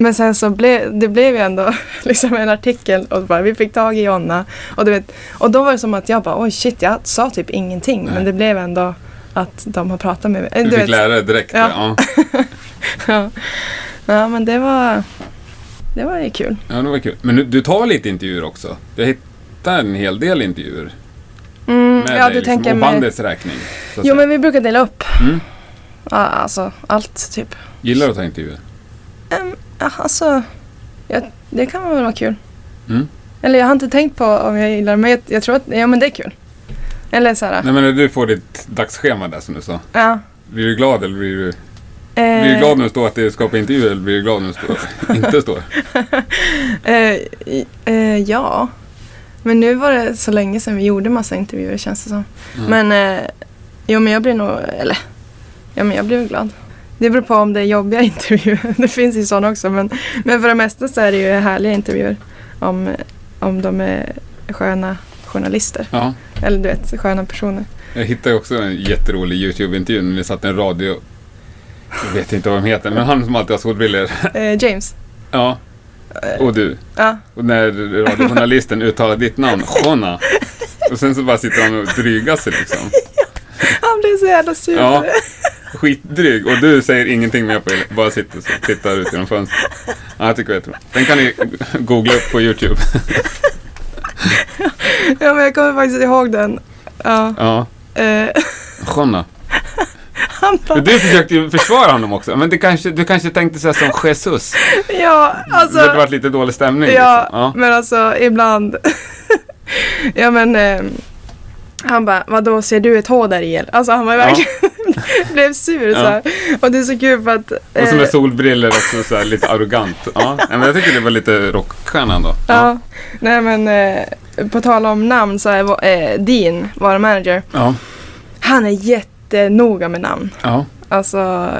A: men sen så blev det blev ju ändå liksom en artikel och bara, vi fick tag i Jonna. Och, du vet, och då var det som att jag bara, oj shit jag sa typ ingenting
B: Nej.
A: men det blev ändå att de har pratat med mig. Eh,
B: Du, fick
A: vet.
B: lära dig direkt. Ja.
A: Ja.
B: Ja.
A: Ja. ja men det var, det var ju kul.
B: ja, det var kul. Men nu, du tar lite intervjuer också. Jag hittar en hel del intervjuer
A: Mm,
B: med dig liksom, och bandets räkning. så att
A: Jo
B: säga.
A: men vi brukar dela upp.
B: Mm.
A: Ja, alltså allt typ.
B: Gillar du att ta intervjuer?
A: Ja, alltså, jag, det kan väl vara kul.
B: Mm.
A: Eller jag har inte tänkt på om jag gillar det men jag, jag tror att, ja men det är kul. Eller så här,
B: Nej, men när du får ditt dagsschema där som du sa.
A: ja.
B: Blir du glad eller blir du,
A: Eh,
B: blir du glad när du står att det ska på intervju eller blir du glad när du står, inte står?
A: eh, i- eh, ja. Men nu var det så länge sedan vi gjorde massa intervjuer känns det som.
B: Mm.
A: Men, eh, jo men jag blir nog, eller, ja men jag blir väl glad. Det beror på om det är jobbiga intervjuer. Det finns ju sådana också men, men för det mesta så är det ju härliga intervjuer. Om, om de är sköna journalister.
B: Ja.
A: Eller du vet, sköna personer.
B: Jag hittade också en jätterolig YouTube-intervju när vi satt en radio... Jag vet inte vad de heter, men han som alltid har solbrillor.
A: Eh, James.
B: Ja. Och du.
A: Eh. Ja.
B: Och när radiojournalisten uttalar ditt namn, Jonna. Och sen så bara sitter han och drygar sig liksom.
A: Han blev så jävla sur.
B: Ja. Skitdryg. Och du säger ingenting mer på det. Bara sitter så, tittar ut genom fönstret. Ja, jag tycker det är jättebra. Den kan ni googla upp på YouTube.
A: ja men jag kommer faktiskt ihåg den. Ja.
B: Ja.
A: Eh,
B: Jonna.
A: Han bara,
B: Du försökte ju försvara honom också, men du kanske, du kanske tänkte så här som Jesus.
A: ja, alltså.
B: det hade varit lite dålig stämning.
A: Ja,
B: liksom. ja.
A: men alltså ibland. ja men. Eh, han bara, vadå ser du ett H där i eller? Alltså han var verkligen, blev sur så här. Och det är så kul för att.
B: Och
A: eh,
B: sådana solbriller också, så här, lite arrogant. Ja. Nej, men jag tycker det var lite rockstjärna ändå.
A: ja. Nej men eh, på tal om namn så är vår- eh, Dean, vår manager.
B: Ja.
A: Han är jättenoga med namn.
B: ja.
A: Alltså,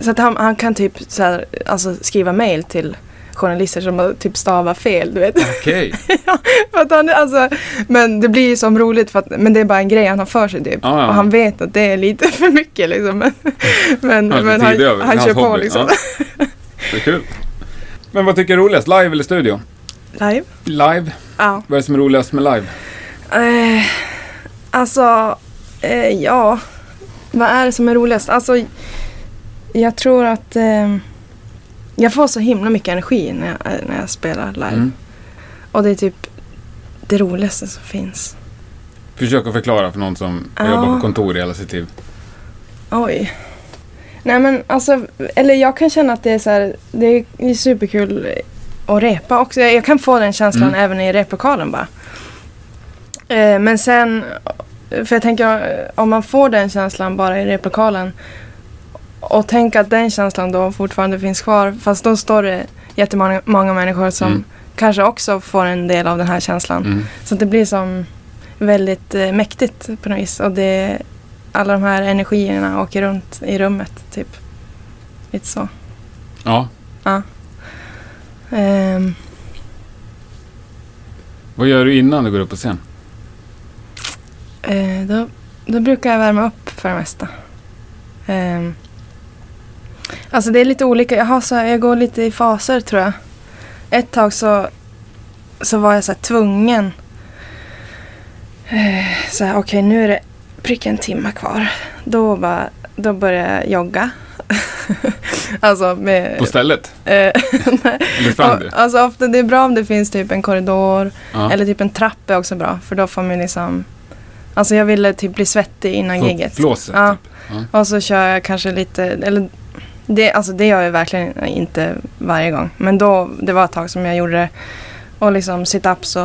A: så att han, han kan typ så här, alltså, skriva mail till journalister som har typ stavar fel, du vet.
B: Okej.
A: För att han, är- alltså, men det blir ju som roligt för att, men det är bara en grej han har för sig typ.
B: Ja, ja.
A: Och han vet att det är lite för mycket liksom. Men, men,
B: Han har
A: men
B: lite tid
A: han,
B: över.
A: han
B: Hans
A: kör på
B: hobby.
A: liksom.
B: Ja. Det är kul. Men vad tycker du är roligast, live eller studio?
A: Live?
B: Live.
A: Ja.
B: Vad är det som är roligast med live?
A: Eh, alltså, eh, ja. Vad är det som är roligast? Alltså, jag tror att eh, jag får så himla mycket energi när jag, eh, när jag spelar live.
B: Mm.
A: Och det är typ det roligaste som finns.
B: Försök att förklara för någon som
A: Ja.
B: jobbar på kontor i hela sitt liv.
A: Oj. Nej men alltså, eller jag kan känna att det är så här, det är, det är superkul att repa också. Jag, jag kan få den känslan
B: Mm.
A: även i replokalen bara. Eh, men sen, för jag tänker eh, om man får den känslan bara i replokalen och tänk att den känslan då fortfarande finns kvar fast då står det jättemånga många människor som
B: Mm.
A: kanske också får en del av den här känslan.
B: Mm.
A: Så det blir som väldigt eh, mäktigt på något vis. Och det, alla de här energierna åker runt i rummet. Typ. Lite så.
B: Ja.
A: Ehm,
B: Vad gör du innan du går upp på scen?
A: eh, då, då brukar jag värma upp för det mesta. Ehm, alltså det är lite olika. Jag, har så här, jag går lite i faser tror jag. Ett tag så, så var jag så här tvungen. Eh, så här, okej nu är det pricka en timme kvar. Då, bara, då börjar jag jogga. alltså med...
B: På stället?
A: eh,
B: Eller sprang du?
A: alltså ofta det är bra om det finns typ en korridor
B: Ja.
A: eller typ en trappa är också bra för då får man liksom Alltså jag ville typ bli svettig innan
B: Få
A: giget.
B: Flåset?
A: Ja.
B: Typ.
A: Och så kör jag kanske lite, eller det, alltså det gör jag verkligen inte varje gång. Men då, det var ett tag som jag gjorde det. Och liksom sit-ups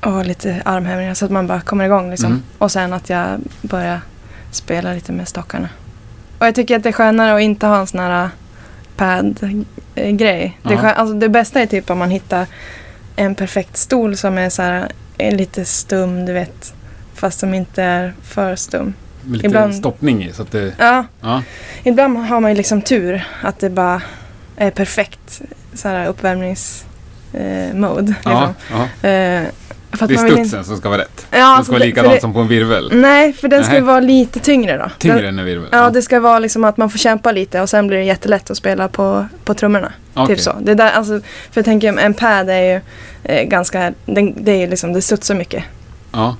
A: och, och lite armhävningar så att man bara kommer igång liksom.
B: Mm.
A: Och sen att jag börjar spela lite med stockarna. Och jag tycker att det är skönare att inte ha en sån här äh, pad-grej. Det, är
B: Ja.
A: skö- alltså det bästa är typ om man hittar en perfekt stol som är så här är lite stum, du vet. Fast som inte är för stum.
B: Med lite
A: Ibland-
B: stoppning i så att det...
A: Ja,
B: Ja.
A: Ibland har man ju liksom tur att det bara är perfekt så här uppvärmningsmode. Eh, mode,
B: Ja,
A: liksom.
B: ja.
A: eh, för att
B: Det är
A: man vill
B: studsen som ska vara rätt.
A: Ja,
B: Den
A: alltså
B: ska vara
A: det- för
B: likadant
A: det-
B: som på en virvel.
A: Nej, för den ska ju
B: Nej.
A: vara lite tyngre då. Den,
B: Tyngre än en virvel?
A: ja, det ska vara liksom att man får kämpa lite och sen blir det jättelätt att spela på, på trummorna.
B: Okej.
A: Typ så. Det där, alltså, för jag tänker en pad är ju eh, ganska, den, det är ju liksom, det studsar mycket.
B: Ja.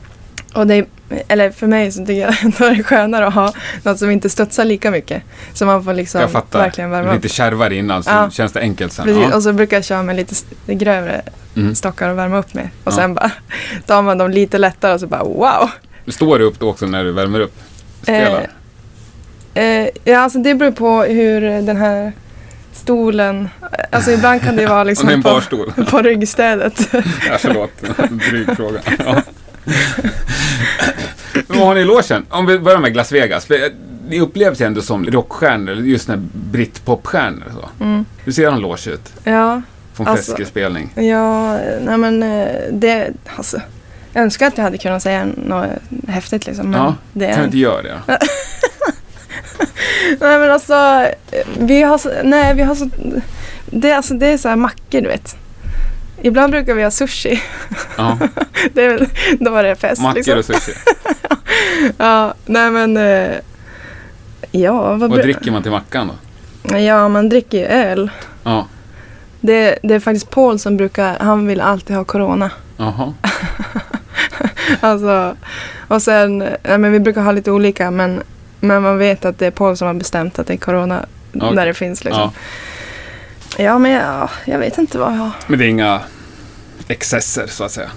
A: Och det, eller för mig så tycker jag att det är skönare att ha något som inte studsar lika mycket. Så man får liksom
B: jag fattar.
A: verkligen värma upp.
B: Lite kärvare innan så
A: Ja.
B: känns det enkelt sen.
A: Precis,
B: Ja.
A: och så brukar jag köra med lite s- grövre
B: Mm.
A: stockar och värma upp med. Och
B: Ja.
A: sen bara tar man dem lite lättare och så bara wow.
B: Står du upp då också när du värmer upp? Spelar?
A: Eh, Eh, ja, alltså det beror på hur den här stolen, alltså ibland kan det vara
B: Om det är en
A: liksom på,
B: barstol?
A: på ryggstädet.
B: ja, förlåt, dryg fråga. Ja. Vad har ni i logen? Om vi börjar med Las Vegas. för, eh, Ni upplevs ju ändå som rockstjärnor, eller just när brittpopstjärnor. och Så.
A: Mm.
B: Hur ser en loge ut?
A: Ja,
B: Från
A: Alltså-
B: Feskespelning?
A: ja, eh, nej men eh, det, alltså. Jag önskar att jag hade kunnat säga något häftigt liksom. Men
B: Ja,
A: det
B: Kan vi
A: är
B: inte göra det?
A: Nej men alltså, eh, vi har så, nej vi har så, det, alltså, det är så här mackor du vet. Ibland brukar vi ha sushi,
B: Ja,
A: Alltså, det är, väl- då var det fest
B: mackor
A: liksom.
B: och sushi.
A: Ja, nej men, eh, ja vad
B: Vad
A: bru-
B: dricker man till mackan då?
A: Ja man dricker ju öl.
B: Ja,
A: Det, det är faktiskt Paul som brukar, han vill alltid ha corona.
B: jaha.
A: Alltså, och sen, eh, nej men vi brukar ha lite olika men, men man vet att det är Paul som har bestämt att det är corona
B: Okej.
A: när det finns liksom.
B: Ja.
A: Ja, men ja, jag vet inte vad jag har.
B: Men det är inga excesser så att säga.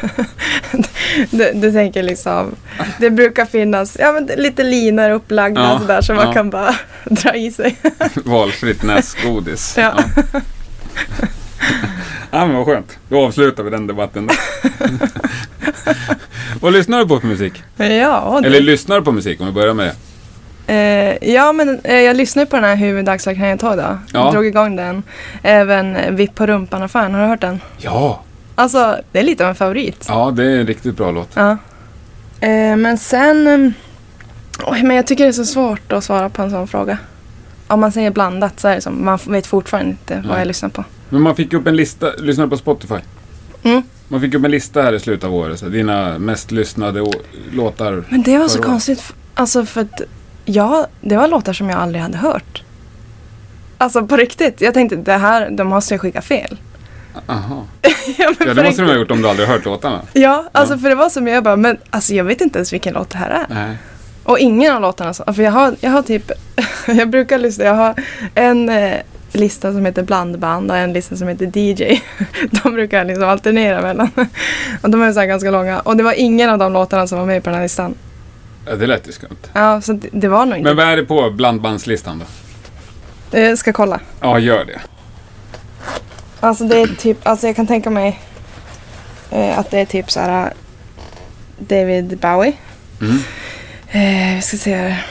A: Du, du tänker liksom, det brukar finnas ja, men lite linor upplagda
B: Ja,
A: och sådär som
B: ja.
A: man kan bara dra i sig.
B: Valfritt näsgodis.
A: Ja.
B: Ja. ja, men vad skönt. Då avslutar vi den debatten. Då. vad lyssnar du på för musik?
A: Ja, det-
B: Eller lyssnar du på musik om vi börjar med det?
A: Eh, ja, men eh, jag lyssnade på den här Hur dagsverk kan jag ta då?
B: Ja.
A: Drog igång den. Även eh, Vipp på rumpan-affären, har du hört den?
B: Ja,
A: Alltså, det är lite av en favorit.
B: ja det är en riktigt bra låt.
A: Ja. Eh, men sen... mm, Oj, men jag tycker det är så svårt att svara på en sån fråga. Om man säger blandat så är det som, man vet fortfarande inte vad
B: Nej.
A: jag lyssnar på.
B: Men man fick upp en lista, lyssnar du på Spotify?
A: Mm.
B: Man fick upp en lista här i slutet av året, så här, dina mest lyssnade å- låtar.
A: Men det var så
B: Förra året.
A: konstigt. f- Alltså för att ja, det var låtar som jag aldrig hade hört. Alltså på riktigt. Jag tänkte det här, de måste jag skicka fel.
B: Aha.
A: ja, men
B: Ja,
A: på
B: det måste de
A: riktigt.
B: ha gjort om du aldrig har hört låtarna.
A: Ja, alltså
B: Ja.
A: för det var som jag bara, men alltså jag vet inte ens vilken låt det här är.
B: Nej.
A: Och ingen av låtarna, så, för jag har, jag har typ, jag brukar lyssna, jag har en eh, lista som heter blandband och en lista som heter DJ. De brukar jag liksom alternera mellan. Och de är så här ganska långa. Och det var ingen av de låtarna som var med på den här listan.
B: Ja, det lät ju skumt.
A: Ja, så det, det var nog
B: Men
A: inte.
B: vad är det på blandbandslistan då?
A: Jag ska kolla.
B: Ja, gör det.
A: Alltså det är typ, alltså jag kan tänka mig eh, att det är typ så här David Bowie.
B: Mm.
A: Eh, vi ska se här.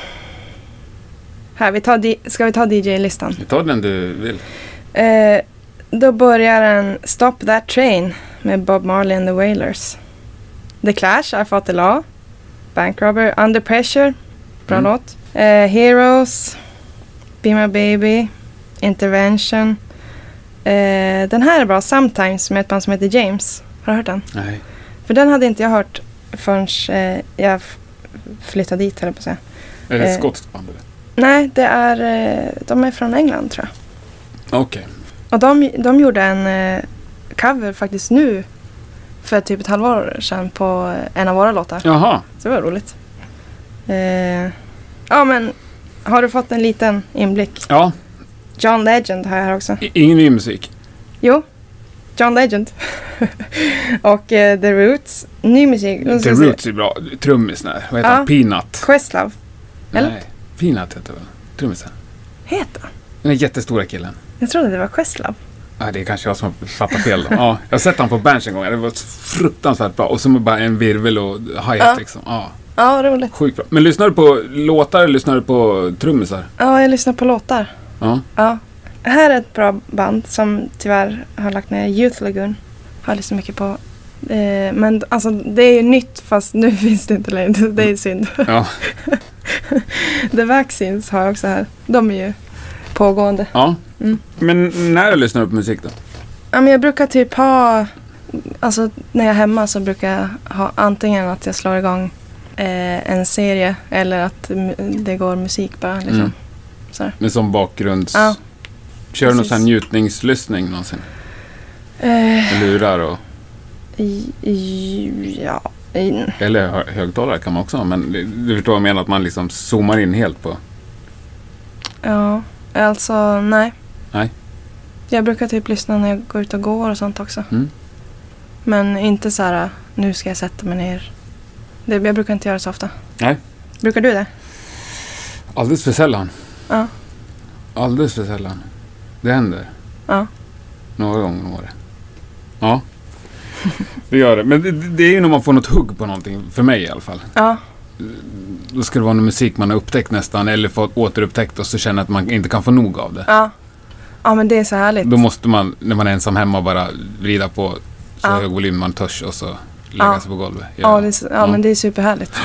A: Här, vi tar di- ska vi ta DJ-listan?
B: Ta den du vill.
A: Eh, då börjar en Stop That Train med Bob Marley and the Wailers. The Clash, I Fought the Law. Bank Robber, Under Pressure. Bra
B: Mm.
A: låt. Eh, Heroes. Be My Baby. Intervention. Eh, den här är bra, Sometimes med ett band som heter James. Har du hört den?
B: Nej.
A: För den hade inte jag hört förrän eh, jag f- flyttade dit, höll jag på att säga.
B: Är det ett
A: Eh.
B: skotskt band? eller?
A: Nej, det är, eh, de är från England tror jag.
B: Okej.
A: Och de, de gjorde en eh, cover faktiskt nu för typ ett halvår sedan på en av våra låtar.
B: Jaha.
A: Så det var roligt. Eh, ja men har du fått en liten inblick?
B: Ja,
A: John Legend har jag här också.
B: i- ingen ny musik.
A: Jo, John Legend. och eh, The Roots. Ny musik. Nu ska
B: The
A: vi se.
B: Roots är bra. Trummisen där. Vad heter
A: Ja.
B: han? Peanut.
A: Questlove Eller?
B: Nej. Peanut heter väl trummisen?
A: heter han.
B: Den där jättestora killen.
A: Jag trodde det var Questlove.
B: Ja, det är kanske jag som har fattat fel. då. ja, jag har sett honom på Berns en gång. Det var så fruktansvärt bra. Och så bara en virvel och hi-hat
A: Ja.
B: liksom. Ja,
A: Ja, roligt.
B: sjukt bra. Men lyssnar du på låtar eller lyssnar du på trummisar?
A: Ja, jag lyssnar på låtar.
B: Ja.
A: Ja. Här är ett bra band som tyvärr har lagt ner, Youth Lagoon. Har jag lyssnat mycket på. Eh, men alltså det är ju nytt fast nu finns det inte längre. Det är ju synd.
B: Ja.
A: The Vaccines har jag också här. De är ju pågående.
B: ja.
A: Mm.
B: Men när lyssnar du på musik då?
A: Ja, men jag brukar typ ha, alltså när jag är hemma så brukar jag ha antingen att jag slår igång eh, en serie eller att mu- det går musik bara. Liksom.
B: Mm. Med som bakgrunds...
A: Ja.
B: Kör du någon
A: Precis.
B: sån här njutningslyssning någonsin?
A: Eh,
B: Med lurar och...
A: i, i, ja, i,
B: Eller hö- högtalare kan man också ha, men du förstår vad jag menar? Att man liksom zoomar in helt på...
A: Ja, alltså nej.
B: Nej.
A: Jag brukar typ lyssna när jag går ut och går och sånt också.
B: Mm.
A: Men inte så här, nu ska jag sätta mig ner. Det, jag brukar inte göra så ofta.
B: Nej.
A: Brukar du det?
B: Alldeles för sällan.
A: Ja.
B: Alldeles för sällan. Det händer.
A: Ja.
B: Några gånger om året. Ja. Det gör det. Men det, det är ju när man får något hugg på någonting, för mig i alla fall.
A: Ja,
B: Då ska det vara någon musik man har upptäckt nästan, eller fått återupptäckt och så känner att man inte kan få nog av det.
A: ja. Ja men det är så härligt.
B: Då måste man, när man är ensam hemma, bara vrida på så
A: Ja.
B: hög volym man törs och så lägga
A: Ja.
B: sig på golvet. Gör
A: ja,
B: det.
A: det är, så- ja men det är superhärligt.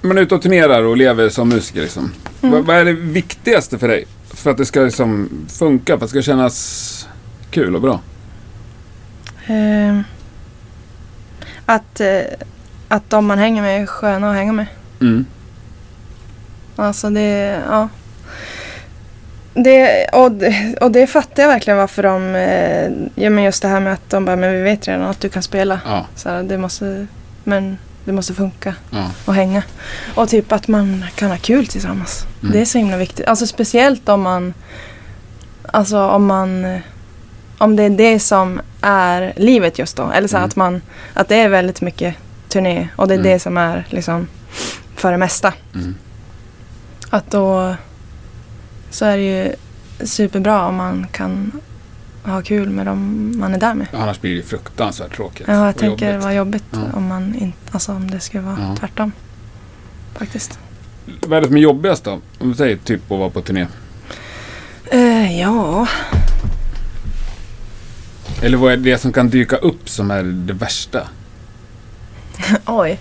B: Men ute och turnerar och lever som musiker liksom.
A: Mm.
B: Vad, vad är det viktigaste för dig? För att det ska liksom funka, för att det ska kännas kul och bra?
A: Ehm, att, eh, att de man hänger med är sköna att hänga med.
B: Mm.
A: Alltså det, ja. Det, och, det- och det fattar jag verkligen varför de, eh, ja men just det här med att de bara, men vi vet redan att du kan spela.
B: Ja,
A: Så här, det måste, men det måste funka
B: ja.
A: och hänga. Och typ att man kan ha kul tillsammans.
B: Mm.
A: Det är så himla viktigt. Alltså speciellt om man, alltså om man, eh, om det är det som är livet just då. Eller så
B: Mm.
A: att, man, att det är väldigt mycket turné och det är
B: Mm.
A: det som är liksom för det mesta.
B: Mm.
A: Att då så är det ju superbra om man kan ha kul med dem man är där med.
B: Annars blir det ju fruktansvärt tråkigt.
A: Ja, jag
B: och
A: tänker det
B: jobbigt.
A: var jobbigt
B: Ja.
A: om, man in, alltså, om det skulle vara
B: Ja.
A: tvärtom. Faktiskt.
B: Vad är det som är jobbigast då? Om du säger typ att vara på turné.
A: Eh, ja,
B: Eller vad är det som kan dyka upp som är det värsta?
A: oj.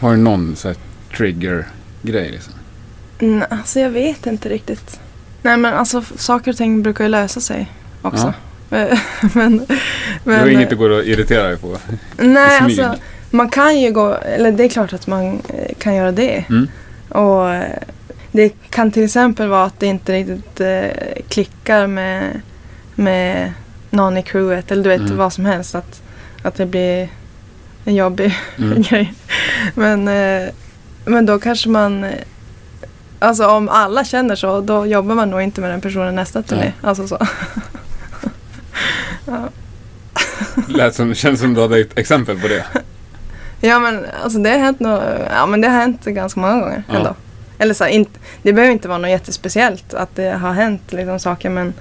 B: Har du någon så här trigger-grej liksom?
A: Mm, alltså jag vet inte riktigt. Nej men alltså f- saker och ting brukar ju lösa sig också. Eh, men,
B: det
A: men,
B: var inget det går att irritera dig på.
A: Nej
B: i smyg.
A: alltså man kan ju gå, eller det är klart att man eh, kan göra det.
B: Mm.
A: Och eh, det kan till exempel vara att det inte riktigt eh, klickar med, med någon i crewet eller du vet
B: Mm.
A: vad som helst. Att, att det blir en jobbig
B: Mm.
A: grej. Men, eh, men då kanske man... eh, Alltså om alla känner så, då jobbar man nog inte med den personen nästa turné.
B: Nej.
A: Alltså så.
B: Lät som, känns som du hade ett exempel på det.
A: Ja men alltså det har hänt, nå ja, men det har hänt ganska många gånger
B: Ja.
A: ändå. Eller så, här, inte, det behöver inte vara något jättespeciellt att det har hänt liksom, saker men,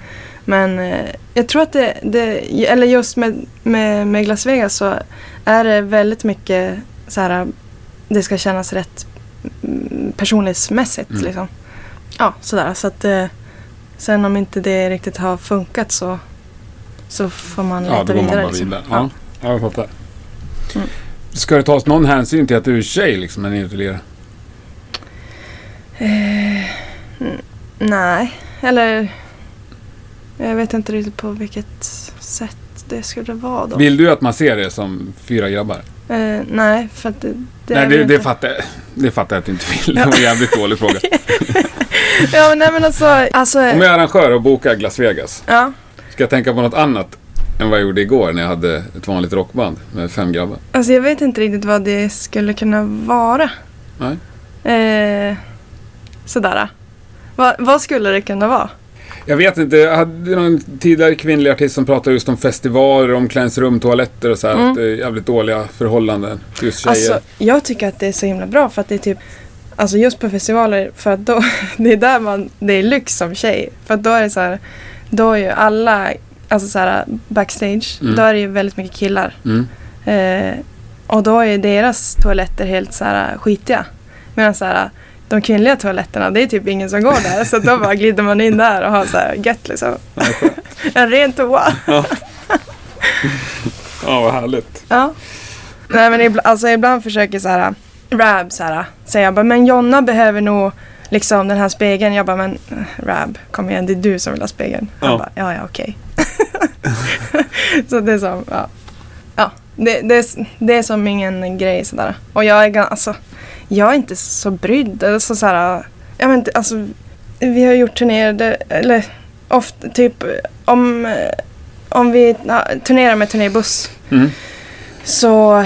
A: men eh, jag tror att det, det eller just med, med, med Las Vegas så är det väldigt mycket så här, det ska kännas rätt mm, personlighetsmässigt
B: Mm.
A: liksom. Ja, sådär. Så att eh, sen om inte det riktigt har funkat så, så får man leta
B: Ja, då går
A: vidare.
B: man bara
A: liksom.
B: vidare.
A: Ja.
B: Ja, ja jag fattar.
A: Mm.
B: Ska det tas någon hänsyn till att du är tjej liksom när ni är ute och lirar?
A: Nej, eller jag vet inte riktigt på vilket sätt det skulle vara då.
B: Vill du att man ser det som fyra grabbar?
A: Eh, nej, för att det, det
B: Nej,
A: är
B: det,
A: väl
B: det,
A: inte-
B: fattar, jag- det fattar jag att du inte vill. Det var en jävligt dålig fråga.
A: Ja, men nej men alltså, alltså
B: Om jag är arrangör och bokar Las Vegas,
A: ja,
B: ska jag tänka på något annat än vad jag gjorde igår när jag hade ett vanligt rockband med fem grabbar?
A: alltså jag vet inte riktigt vad det skulle kunna vara.
B: Nej.
A: Eh, sådär. Va, vad skulle det kunna vara?
B: Jag vet inte, jag hade någon tidigare kvinnlig artist som pratade just om festivaler, omklädningsrum, toaletter och så här.
A: Mm.
B: Att det är jävligt dåliga förhållanden. Just tjejer.
A: Alltså, jag tycker att det är så himla bra för att det är typ Alltså just på festivaler, för att då, det är där man, det är lyx som tjej. För att då är det så här, då är ju alla, alltså så här backstage,
B: Mm.
A: då är det ju väldigt mycket killar.
B: mm.
A: Eh, och då är ju deras toaletter helt så här skitiga. Medan så här, de kvinnliga toaletterna, det är typ ingen som går där. Så att då bara glider man in där och har så här gött liksom. en ren toa.
B: Ja, vad härligt.
A: Ja. Nej men ibland, alltså ibland försöker så här Rab så här, säger jag bara, men Jonna behöver nog liksom den här spegeln. Jag bara, men eh, Rab, kom igen, det är du som vill ha spegeln. Han
B: Ja.
A: bara, ja ja okej. så det är som, ja. ja det, det, är s- det är som ingen grej sådär. Och jag är gan- alltså, jag är inte så brydd. Alltså, så här, jag vet inte, alltså, vi har gjort turnéer, där- eller ofta typ om, eh, om vi ja, turnerar med turnébuss
B: Mm.
A: så,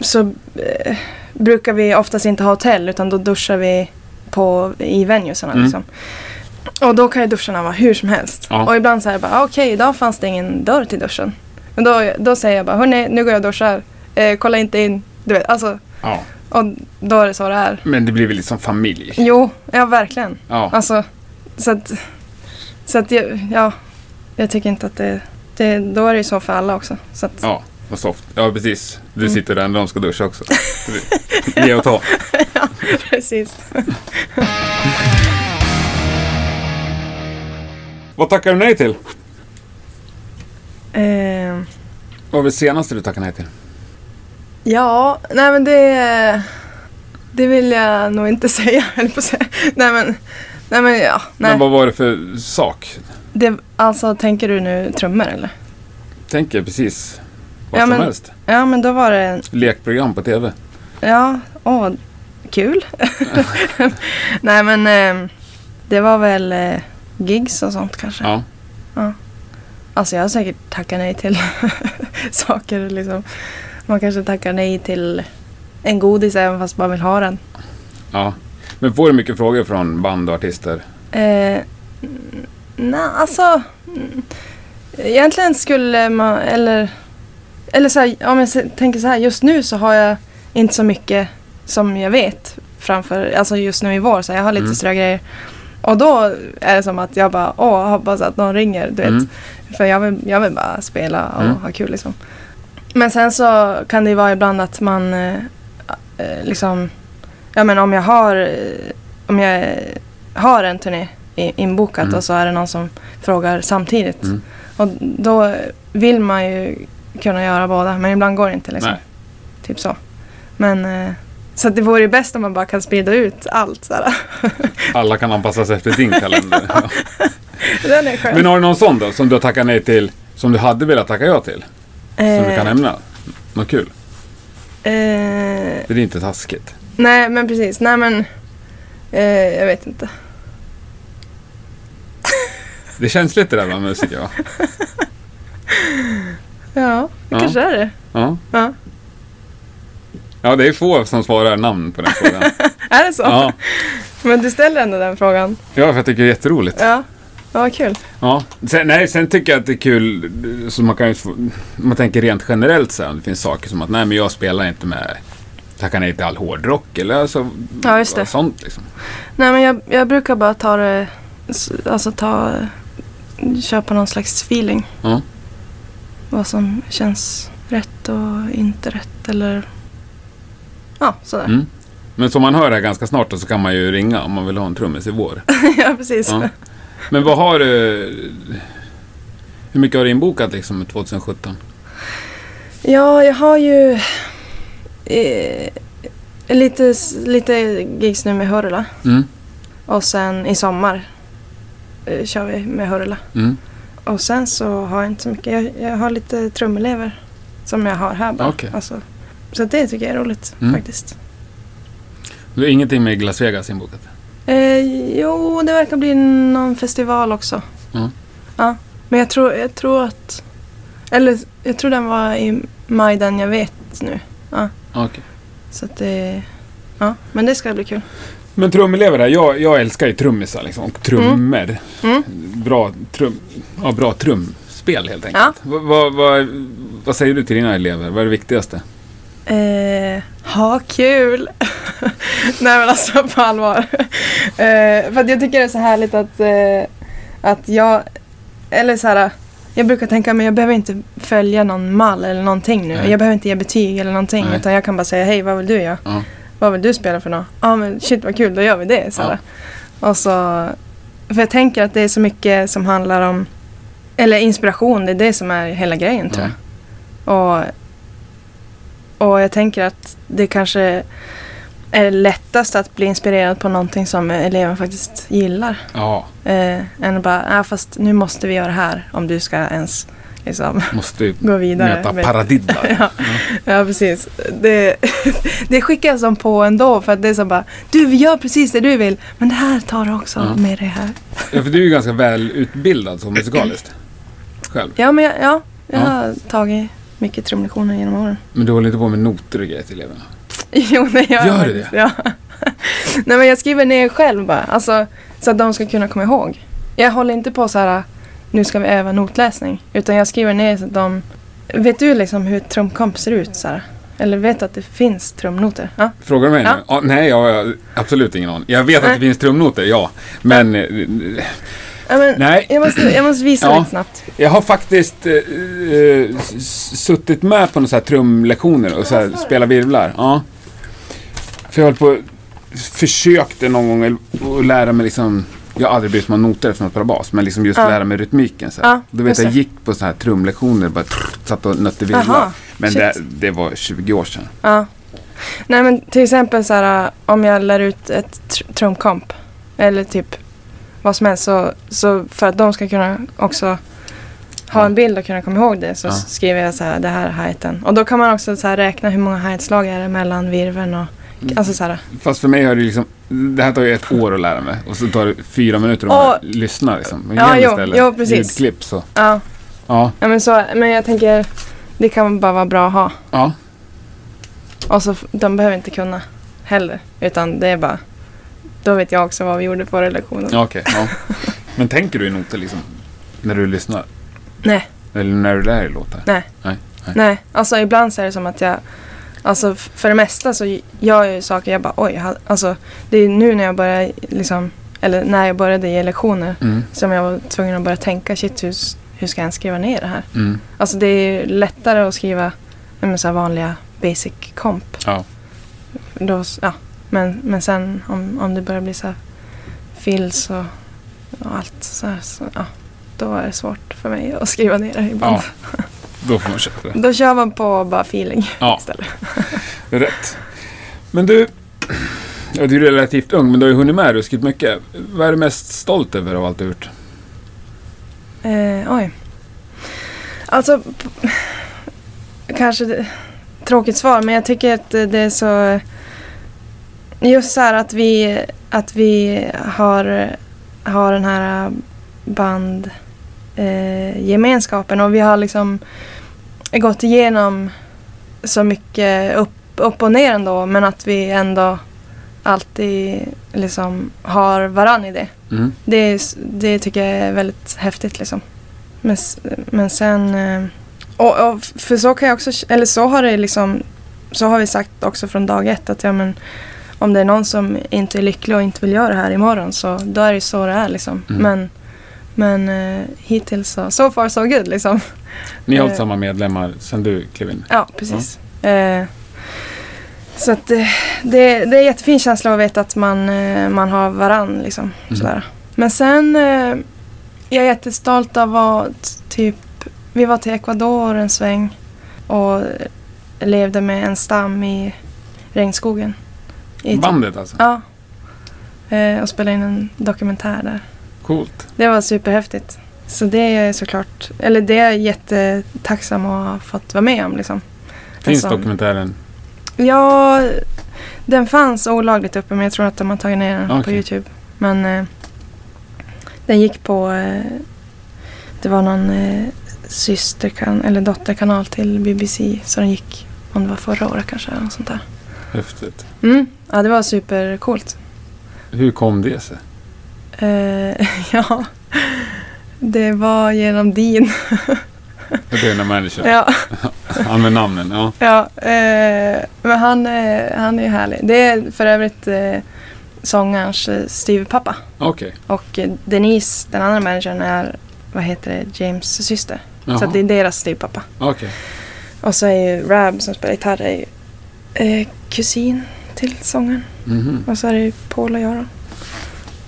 A: så eh, brukar vi oftast inte ha hotell utan då duschar vi på, i venuesarna.
B: Mm.
A: Liksom. Och då kan ju duscharna vara hur som helst.
B: Ja.
A: Och ibland så är det bara, ah, okej idag fanns det ingen dörr till duschen. Men då, då säger jag bara, hörni nu går jag och duschar. Eh, kolla inte in. Du vet, alltså,
B: Ja,
A: och då är det så det är.
B: men det blir väl liksom familj.
A: Jo, ja verkligen.
B: Ja.
A: Alltså, så att, så att jag, ja, jag tycker inte att det, det, då är det ju så för alla också. Så att,
B: Ja, vad soft. Ja, precis. Du
A: Mm.
B: sitter där när de ska duscha också. Ge och ta.
A: precis.
B: Vad tackar du nej till?
A: Ehm.
B: Vad var det senaste du tackade nej till?
A: Ja, nej men det... Det vill jag nog inte säga, höll jag på att säga. Nej men, nej men ja. Nej.
B: Men vad var det för sak?
A: Det, alltså, tänker du nu trummor eller?
B: Tänker precis vad
A: Ja,
B: som
A: men-
B: helst.
A: Ja, men då var det en...
B: Lekprogram på TV.
A: Ja, åh, kul. nej men, ehm, det var väl eh, gigs och sånt kanske.
B: Ja.
A: Alltså jag har säkert tackat nej till saker liksom. Man kanske tackar nej till en godis även fast man vill ha den.
B: ja. Men får du mycket frågor från band och artister?
A: Eh, n- nej, alltså... mm, Egentligen skulle man, eller, eller så här, om jag se- tänker så här, just nu så har jag inte så mycket som jag vet framför, alltså just nu i vår, så här, jag har lite
B: Mm.
A: strögrejer. Och då är det som att jag bara, åh, hoppas att någon ringer, du vet.
B: Mm.
A: För jag vill, jag vill bara spela och
B: Mm.
A: ha kul liksom. Men sen så kan det ju vara ibland att man eh, eh, liksom, ja men om jag har, eh, om jag har en turné i- inbokat
B: Mm.
A: och så är det någon som frågar samtidigt.
B: Mm.
A: Och då vill man ju kunna göra båda men ibland går det inte liksom.
B: Nej.
A: Typ så. Men eh, så att det vore ju bäst om man bara kan sprida ut allt sådär.
B: Alla kan anpassa sig efter din kalender. Ja.
A: Den är skön.
B: Men har du någon sån då som du har tackat nej till, som du hade velat tacka ja till? Som du kan nämna? Något kul?
A: eh, eh,
B: Det är inte taskigt.
A: nej men precis, nej men eh, jag vet inte.
B: Det är känsligt det där med musik ja.
A: Ja, det
B: Ja.
A: kanske är det.
B: ja.
A: Ja.
B: Ja, det är få som svarar namn på den frågan.
A: Är det så?
B: Ja,
A: Men du ställer ändå den frågan.
B: ja för jag tycker det är jätteroligt.
A: Ja, ja vad kul.
B: Ja. Sen, nej, sen tycker jag att det är kul, så man kan ju, få- om man tänker rent generellt så här, om det finns saker som att nej men jag spelar inte med, tackar nej till all hårdrock eller alltså,
A: Ja, just det.
B: sånt liksom.
A: Nej men jag, jag brukar bara ta det, s- alltså ta, köpa någon slags feeling.
B: Ja.
A: Vad som känns rätt och inte rätt eller, ja sådär.
B: Mm. Men som man hör här ganska snart då, så kan man ju ringa om man vill ha en trummis i vår.
A: ja precis.
B: Ja. Men vad har du, hur mycket har du inbokat liksom 2017?
A: Ja, jag har ju eh, lite, s- lite gigs nu med Hurula
B: Mm.
A: och sen i sommar eh, kör vi med Hurula.
B: Mm.
A: Och sen så har jag inte så mycket. Jag, jag har lite trumelever som jag har här bara.
B: Okej.
A: Alltså, så det tycker jag är roligt
B: Mm.
A: faktiskt.
B: Du har ingenting med Las Vegas inbokat?
A: Eh, jo, det verkar bli någon festival också.
B: Mm.
A: Ja. Men jag tror, jag tror att... Eller jag tror den var i maj den jag vet nu.
B: Okej.
A: Så att det... Ja, men det ska bli kul.
B: Men trumelever där, jag, jag älskar ju trummisar liksom, och trummor.
A: Mm.
B: Bra, trum, ja, bra trumspel helt enkelt. Vad- vad- vad- vad säger du till dina elever? Vad är det viktigaste?
A: Eh, ha kul! Nej men alltså på allvar. eh, för att jag tycker det är så härligt att, eh, att jag, eller så här, jag brukar tänka men jag behöver inte följa någon mall eller någonting nu.
B: Nej.
A: Jag behöver inte ge betyg eller någonting
B: Nej.
A: utan jag kan bara säga hej vad vill du göra?
B: Ja.
A: Vad vill du spela för något? Ja ah, men shit vad kul, då gör vi det. Så här. Och så, för jag tänker att det är så mycket som handlar om, eller inspiration, det är det som är hela grejen tror jag.
B: Mm.
A: Och, och jag tänker att det kanske är lättast att bli inspirerad på någonting som eleven faktiskt gillar.
B: ja,
A: Eh, än att bara, ah, fast nu måste vi göra det här om du ska ens liksom,
B: måste ju
A: gå vidare.
B: möta
A: med-
B: paradiddar.
A: Ja, ja, precis. Det, det skickas de på ändå för att det är så bara, du vi gör precis det du vill, men det här tar du också
B: Ja.
A: med det här.
B: ja, för du är ju ganska välutbildad så musikaliskt. Själv.
A: Ja, men jag, ja, jag
B: Ja.
A: har tagit mycket trumlektioner genom åren.
B: Men du håller inte på med noter och grejer till eleverna?
A: Jo, det gör,
B: Gör
A: jag
B: du
A: faktiskt. Ja. Nej, men jag skriver ner själv bara. Alltså, så att de ska kunna komma ihåg. Jag håller inte på så här, nu ska vi öva notläsning. Utan jag skriver ner så att de... Vet du liksom hur ett trumkomp ser ut? Så här? Eller vet att det finns trumnoter? Ja.
B: Frågar du mig
A: Ja.
B: nu? Ja, nej, jag har absolut ingen aning. Jag vet att
A: Nej.
B: det finns trumnoter, ja. Men eh,
A: Ja, men,
B: Nej.
A: Jag, måste, jag måste visa
B: Ja.
A: lite snabbt.
B: Jag har faktiskt eh, eh, s- s- suttit med på några så här trumlektioner och så här spelat virvlar. Ja. För jag höll på försökte någon gång el- att lära mig liksom jag har aldrig brytt mig om noter eftersom jag spelar bas, men liksom just
A: Ja.
B: lära mig rytmiken. Så här.
A: Ja,
B: Då vet
A: just
B: jag,
A: det.
B: gick på så här trumlektioner och bara trrr, satt och nötte virvlar.
A: Jaha,
B: Men
A: shit.
B: det, det var 20 år sedan.
A: Ja. Nej men till exempel så här äh, om jag lär ut ett tr- trumkomp eller typ vad som helst så, så för att de ska kunna också ha
B: Ja.
A: en bild och kunna komma ihåg det så
B: Ja.
A: skriver jag så här det här är hi-heten. Och då kan man också så här räkna hur många hi-hat-slag är det mellan virveln och
B: Mm.
A: alltså så här.
B: Fast för mig har det liksom, det här tar ju ett år att lära mig och så tar det fyra minuter om
A: Och-
B: jag lyssnar. Liksom. Men
A: Ja,
B: genom
A: jo,
B: istället
A: jo, precis.
B: Ljudklipp så.
A: Ja,
B: Ja,
A: ja men så men jag tänker det kan bara vara bra att ha.
B: ja.
A: Och så f- de behöver inte kunna heller utan det är bara då vet jag också vad vi gjorde på relationen.
B: Ja, okej. ja. Men tänker du i noter liksom? När du lyssnar?
A: Nej.
B: Eller när du lär dig låtar?
A: Nej.
B: Nej.
A: Nej, alltså ibland så är det som att jag... Alltså f- för det mesta så gör jag ju saker jag bara oj, jag hade- alltså det är nu när jag börjar liksom, eller när jag började ge lektioner
B: Mm,
A: som jag var tvungen att börja tänka shit hur, s- hur ska jag ens skriva ner det här?
B: mm.
A: Alltså det är lättare att skriva ja, men, så här vanliga basic komp.
B: Ja.
A: Då, s- ja. Men, men sen om, om det börjar bli så här fills och, och allt så här, så, ja. Då är det svårt för mig att skriva ner det ibland.
B: Ja. Då får man köpa det.
A: Då kör man på bara feeling
B: Ja.
A: istället.
B: Rätt. Men du, ja, du är relativt ung, men du har ju hunnit med ruskigt mycket. Vad är du mest stolt över av allt du har gjort?
A: Eh, oj. Alltså, p- kanske det, tråkigt svar, men jag tycker att det är så... Just så här att vi, att vi har, har den här bandgemenskapen eh, gemenskapen och vi har liksom gått igenom så mycket upp, upp och ner ändå, men att vi ändå alltid liksom har varann i det.
B: Mm.
A: Det, det tycker jag är väldigt häftigt liksom. Men, s- men sen... eh, Och, och för så kan jag också... Eller så har det liksom... Så har vi sagt också från dag ett att ja men om det är någon som inte är lycklig och inte vill göra det här imorgon så då är det ju så det är liksom.
B: Mm.
A: Men, men eh, hittills så... So far so good liksom.
B: Ni har
A: Eh.
B: hållit samma medlemmar sedan du klev in.
A: Ja, precis. Eh, så att eh, det, det är en jättefin känsla att veta att man, eh, man har varann. Liksom,
B: Mm.
A: sådär. Men sen, eh, jag är jättestolt av att typ, vi var till Ecuador en sväng och levde med en stam i regnskogen. I typ-
B: Bandet alltså?
A: Ja. Eh, och spelade in en dokumentär där.
B: Coolt.
A: Det var superhäftigt. Så det är jag såklart, eller det är jag jättetacksam att ha fått vara med om. Liksom.
B: Finns
A: Alltså-
B: dokumentären?
A: Ja, den fanns olagligt uppe men jag tror att de har tagit ner den på
B: Okej.
A: Youtube. Men eh, den gick på, eh, det var någon eh, systerkan eller dotterkanal till BBC så den gick, om det var förra året kanske eller något sånt där.
B: Häftigt.
A: Mm, ja det var supercoolt.
B: Hur kom det sig?
A: Eh, ja, det var genom din.
B: Det är när manager.
A: Ja.
B: Han med namnen, ja.
A: Ja, eh, men han, eh, han är ju härlig. Det är för övrigt eh, sångarens eh, styvpappa.
B: Okej.
A: Och eh, Denise, den andra managern, är vad heter det, James syster. Så
B: Jaha.
A: att det är deras styvpappa.
B: Okej.
A: Och så är ju Rab som spelar gitarr är ju, eh, kusin till sångaren.
B: Mhm.
A: Och så är det ju Paul och jag då.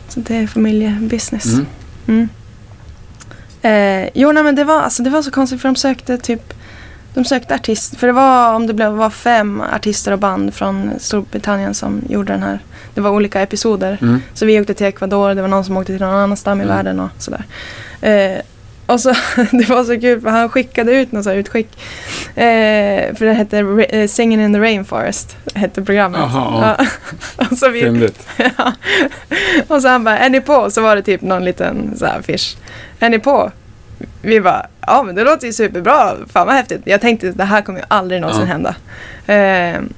A: Så det är familjebusiness.
B: Mm.
A: Mm. Eh, jo, nej, men det var, alltså, det var så konstigt för de sökte typ de sökte artist, för det var om det blev, var fem artister och band från Storbritannien som gjorde den här. Det var olika episoder.
B: Mm.
A: Så vi åkte till Ecuador, det var någon som åkte till någon annan stam i
B: Mm.
A: världen och sådär. Eh, och så, det var så kul för han skickade ut något så här utskick. Eh, för det hette Ra- eh, Singing in the Rainforest, hette programmet.
B: Jaha,
A: Ja. och så vi,
B: Fyndigt.
A: Ja. Och så han bara, är ni på? Så var det typ någon liten så här affisch. Är ni på? Vi bara, ja men det låter ju superbra. Fan vad häftigt. Jag tänkte det här kommer ju aldrig någonsin
B: Ja.
A: hända. Ehm,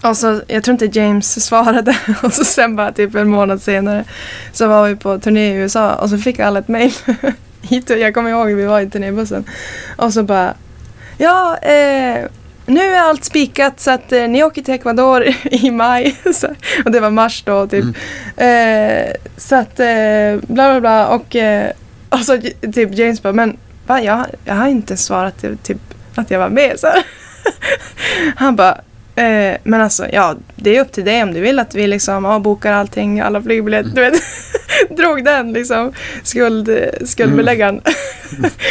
A: och så, jag tror inte James svarade. Och så sen bara typ en månad senare så var vi på turné i USA och så fick alla ett mail. Hit och- jag kommer ihåg vi var i turnébussen. Och så bara, ja eh, nu är allt spikat så att eh, ni åker till Ecuador i maj. Så, och det var mars då typ.
B: Mm.
A: Eh, så att eh, bla bla bla och, eh, och så j- typ James bara, men va, jag, jag har inte svarat till- typ att jag var med. Så här. Han bara, eh, men alltså ja, det är upp till dig om du vill att vi liksom avbokar allting, alla flygbiljetter. Du vet, drog den liksom, skuld, skuldbeläggaren.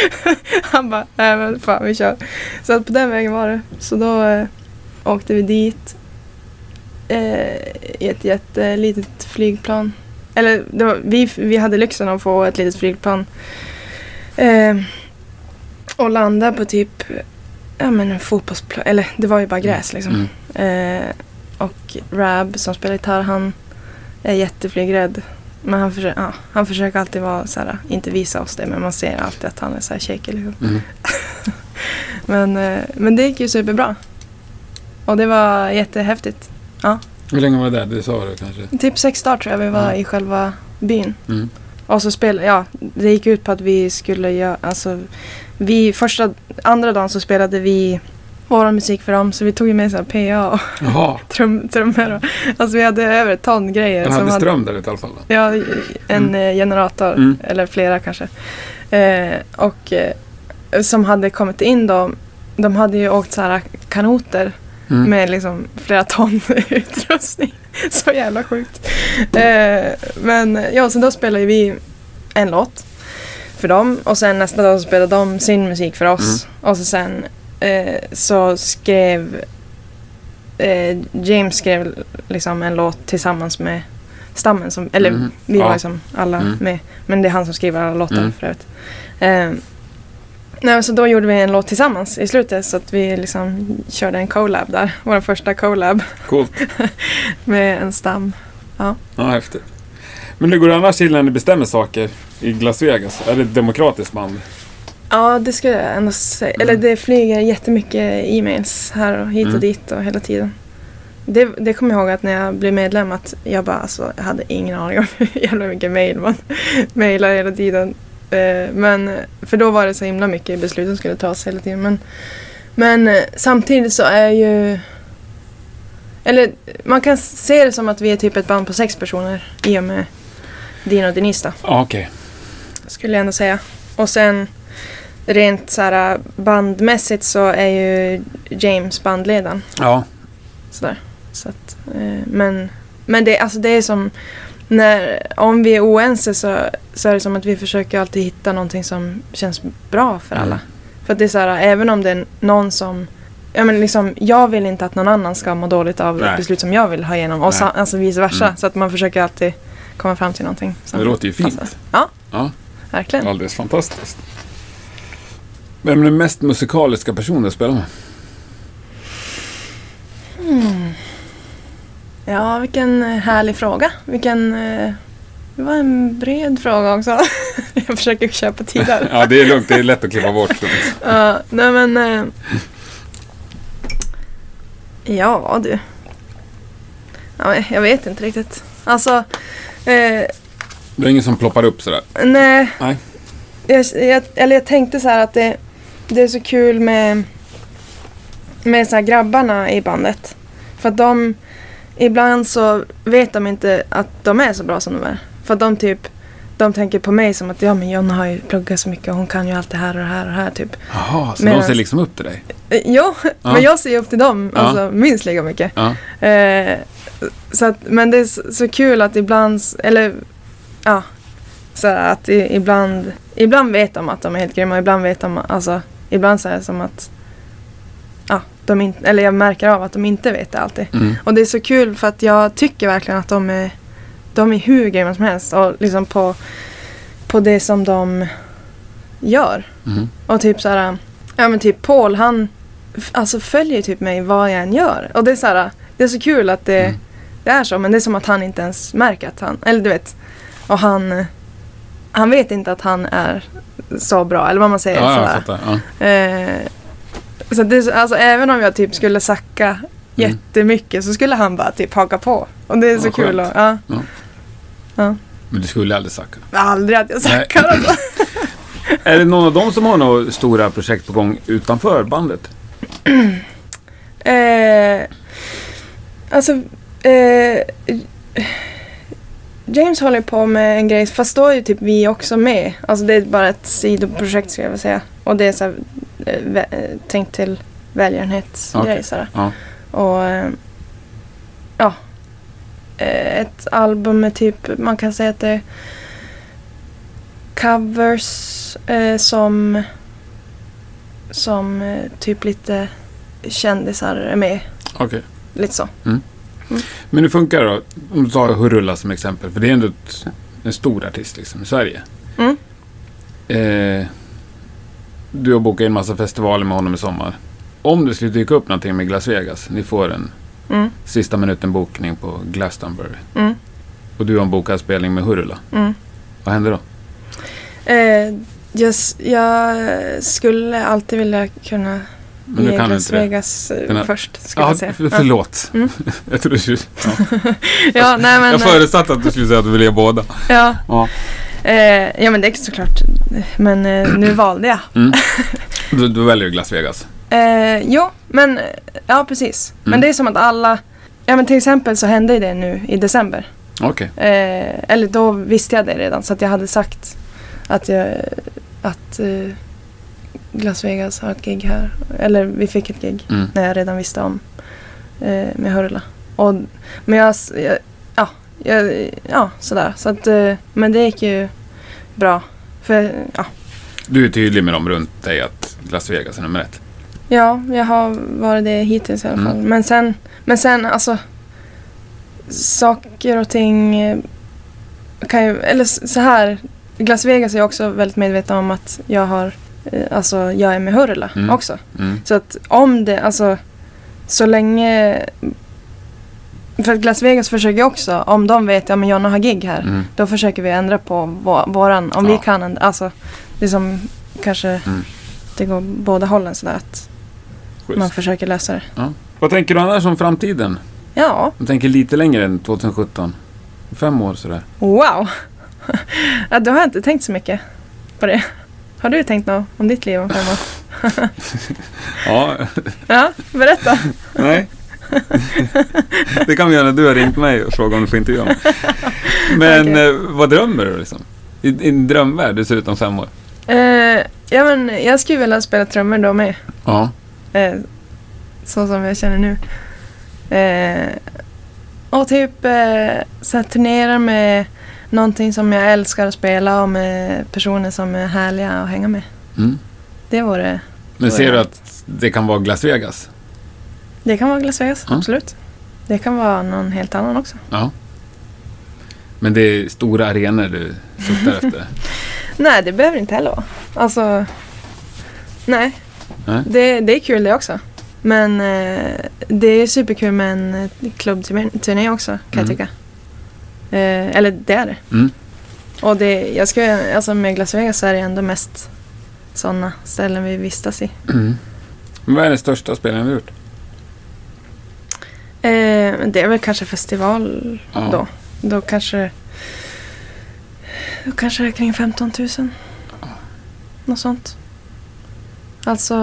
A: Han bara, nej men fan vi kör. Så att på den vägen var det. Så då eh, åkte vi dit eh, i ett jättelitet flygplan. Eller det var, vi, vi hade lyxen att få ett litet flygplan. Eh, och landa på typ ja, men en fotbollsplan. Eller det var ju bara gräs liksom.
B: Mm.
A: Eh, och Rab som spelar gitarr, han är jätteflygrädd. Men han, försöker, ja, han försöker alltid vara så här, inte visa oss det, men man ser alltid att han är så här shaky. Liksom.
B: Mm.
A: Men, eh, men det gick ju superbra. Och det var jättehäftigt.
B: Hur länge var det där? Det sa du kanske?
A: Typ sex dagar tror jag vi var
B: Mm.
A: i själva byn.
B: Mm.
A: Och så spelade, ja, det gick ut på att vi skulle göra, alltså vi, första, andra dagen så spelade vi vår musik för dem så vi tog ju med så här PA och
B: Jaha,
A: trum, trummor och, alltså vi hade över ett ton grejer.
B: den
A: som
B: hade ström där ute i alla fall.
A: Ja, en eh, generator
B: Mm.
A: eller flera kanske. Eh, och eh, som hade kommit in då, de hade ju åkt så här kanoter
B: Mm.
A: med liksom flera ton utrustning. Så jävla sjukt. Eh, men ja, sen då spelade ju vi en låt för dem och sen nästa dag så spelade de sin musik för oss.
B: Mm.
A: Och så sen eh, så skrev eh, James skrev liksom en låt tillsammans med stammen. Som, eller
B: Mhm.
A: vi var
B: Ja.
A: liksom alla
B: Mm.
A: med. Men det är han som skriver alla låtar
B: Mm.
A: för övrigt. Eh, Nej, men så då gjorde vi en låt tillsammans i slutet så att vi liksom körde en collab där. Vår första collab
B: Coolt.
A: med en stam.
B: Ja, häftigt. Men hur går det annars till när ni bestämmer saker i Las Vegas? Är det ett demokratiskt band?
A: Ja, det skulle jag ändå säga.
B: Mm.
A: Eller det flyger jättemycket e-mails här och hit och
B: Mm.
A: dit och hela tiden. Det, det kommer jag ihåg att när jag blev medlem att jag bara alltså, jag hade ingen aning om hur jävla mycket mail man mailar hela tiden. Eh, Men, för då var det så himla mycket beslut som skulle tas hela tiden. Men, men eh, samtidigt så är ju... Eller man kan se det som att vi är typ ett band på sex personer i och med Dino och Denise då
B: Ja, okej.
A: skulle jag ändå säga. Och sen rent så här bandmässigt så är ju James bandledaren.
B: Ja.
A: Sådär. Så att, eh, men men det, alltså det är som när, om vi är oense så, så är det som att vi försöker alltid hitta någonting som känns bra för alla.
B: Mm.
A: För att det är så här, även om det är någon som Ja, men liksom, jag vill inte att någon annan ska må dåligt av
B: Nej.
A: beslut som jag vill ha igenom. Och
B: Nej.
A: sa, alltså vice versa.
B: Mm.
A: Så att man försöker alltid komma fram till någonting. som
B: Det låter ju fint.
A: passar. Ja,
B: Ja.
A: verkligen.
B: Alldeles fantastiskt. Vem är den mest musikaliska personen du spelar med?
A: Ja, vilken eh, härlig fråga. Vilken... eh, Det var en bred fråga också. Jag försöker köpa tid här.
B: Ja, det är lugnt. Det är lätt att klippa bort.
A: Ja, nej men... eh, Ja du. Ja, men jag vet inte riktigt. Alltså... Eh,
B: Det är ingen som ploppar upp sådär.
A: nej.
B: Nej.
A: Jag, jag, eller jag tänkte så här att det, det är så kul med, med så här grabbarna i bandet. För att de, ibland så vet de inte att de är så bra som de är. För att de typ, de tänker på mig som att ja men Jonna har ju pluggat så mycket och hon kan ju allt det här och det här och det här typ.
B: Jaha, så
A: Medans-
B: de ser liksom upp till dig?
A: Eh, Jo,
B: Ja.
A: men jag ser ju upp till dem
B: Ja.
A: alltså, minst lika mycket.
B: Ja.
A: Eh, så att, men det är så, så kul att ibland, s- eller ja, så här att i, ibland, ibland vet de att de är helt grymma, ibland vet de, alltså ibland så är det som att, ja, de in, eller jag märker av att de inte vet det alltid.
B: Mm.
A: Och det är så kul för att jag tycker verkligen att de är, de är hur grymma som helst och liksom på, på det som de gör.
B: Mm.
A: Och typ så här, ja men typ Paul han f- alltså följer ju typ mig vad jag än gör. Och det är så här, det är så kul att det,
B: Mm.
A: det är så men det är som att han inte ens märker att han, eller du vet. Och han, eh, han vet inte att han är så bra eller vad man säger.
B: Ja,
A: så
B: jag
A: där.
B: fattar. Ja.
A: Eh, så det, är så- alltså, även om jag typ skulle sacka
B: Mm.
A: jättemycket så skulle han bara typ haka på. Och det är så
B: Vad
A: kul.
B: skönt.
A: Och, ja,
B: Men du skulle aldrig sacka.
A: aldrig att jag sackar. Alltså.
B: Är det någon av dem som har några stora projekt på gång utanför bandet?
A: Eh, alltså, eh, James håller på med en grej, fast då är ju typ vi också med. Alltså det är bara ett sidoprojekt skulle jag vilja säga. Och det är så här, eh, vä- eh, tänkt till välgörenhetsgrej.
B: Okej,
A: Så
B: ja.
A: Och eh, ja, Eh, ett album är typ, man kan säga att det är covers eh, som, som eh, typ lite kändisar är med.
B: Okej.
A: Lite så.
B: Men hur funkar det då? Om du tar Hurula som exempel, för det är ändå ett, en stor artist liksom, i Sverige.
A: Mm.
B: Eh, du har bokat in massa festivaler med honom i sommar. Om det skulle dyka upp någonting med Las Vegas, ni får en
A: Mm,
B: sista minuten bokning på Glastonbury
A: mm,
B: och du har en bokad spelning med Hurula,
A: mm.
B: vad händer då?
A: Eh, jag, s- jag skulle alltid vilja kunna
B: Men
A: ge
B: du kan
A: Las
B: inte det.
A: Vegas eh,
B: Den här-
A: först. Skulle
B: Ja,
A: jag säga.
B: för, förlåt.
A: Mm.
B: jag trodde du skulle... Ja.
A: Ja, nej, men,
B: jag
A: eh,
B: förutsatte att du skulle säga att du ville ge båda.
A: ja,
B: Ja.
A: Eh, ja men det är såklart. Men eh, nu valde jag.
B: Du, du väljer ju Las Vegas.
A: Eh, jo, men eh, ja precis. Men
B: Mm.
A: det är som att alla... Ja men till exempel så hände ju det nu i december.
B: Okej.
A: Eh, eller då visste jag det redan så att jag hade sagt att, jag, att eh, Las Vegas har ett gig här. Eller vi fick ett gig
B: Mm.
A: när jag redan visste om eh, med Hurla. Och, men jag, s- jag, ja, jag, ja sådär. Så att, eh, men det gick ju bra. För, ja.
B: Du är tydlig med dem runt dig att Las Vegas är nummer ett.
A: ja, jag har varit det hittills i alla
B: Mm.
A: fall. Men sen, men sen alltså saker och ting eh, kan ju, eller s- så här. Las Vegas är jag också väldigt medveten om att jag har, eh, alltså jag är med Hurla
B: Mm.
A: också.
B: Mm.
A: Så att om det, alltså så länge... För att Las Vegas försöker också, om de vet att ja, men Jonna har gig här,
B: Mm.
A: då försöker vi ändra på vå- våran, om
B: Ja.
A: vi kan ändra, alltså det är som kanske
B: Mm.
A: det går båda hållen sådär att
B: Schysst.
A: man försöker lösa det.
B: Vad tänker du annars om framtiden?
A: Ja,
B: Jag tänker lite längre än 2017. Fem år sådär.
A: wow! ja, då har jag inte tänkt så mycket på det. Har du tänkt något om ditt liv om fem år?
B: Ja,
A: Ja, berätta!
B: nej. Det kan vi göra när du har ringt mig och frågat om du får intervjua mig. Men
A: Okej.
B: eh, vad drömmer du liksom? I i en drömvärld, du ser ut om fem år.
A: Eh, ja, men jag skulle vilja spela trummor då med.
B: Ja.
A: Eh, så som jag känner nu. Eh, och typ eh, så här, turnera med någonting som jag älskar att spela och med personer som är härliga att hänga med.
B: Mm.
A: Det vore...
B: Men
A: Så
B: ser
A: är
B: du
A: det.
B: att det kan vara Las Vegas?
A: Det kan vara Las Vegas,
B: Ja.
A: absolut. Det kan vara någon helt annan också.
B: Ja. Men det är stora arenor du suktar efter?
A: Nej, det behöver inte heller vara. Alltså, nej.
B: Nej.
A: Det, det är kul det också. Men eh, det är superkul med en eh, klubbturné också kan
B: Mm.
A: jag tycka. Eh, eller det är det.
B: Mm.
A: Och det, jag ska, alltså med Las Vegas så är det ändå mest sådana ställen vi vistas i.
B: Mm. Men Vad är den största spelningen du gjort?
A: Eh, men det är väl kanske festival
B: Ja.
A: då. Då kanske, då kanske det är kring 15 000. Något sånt. Alltså,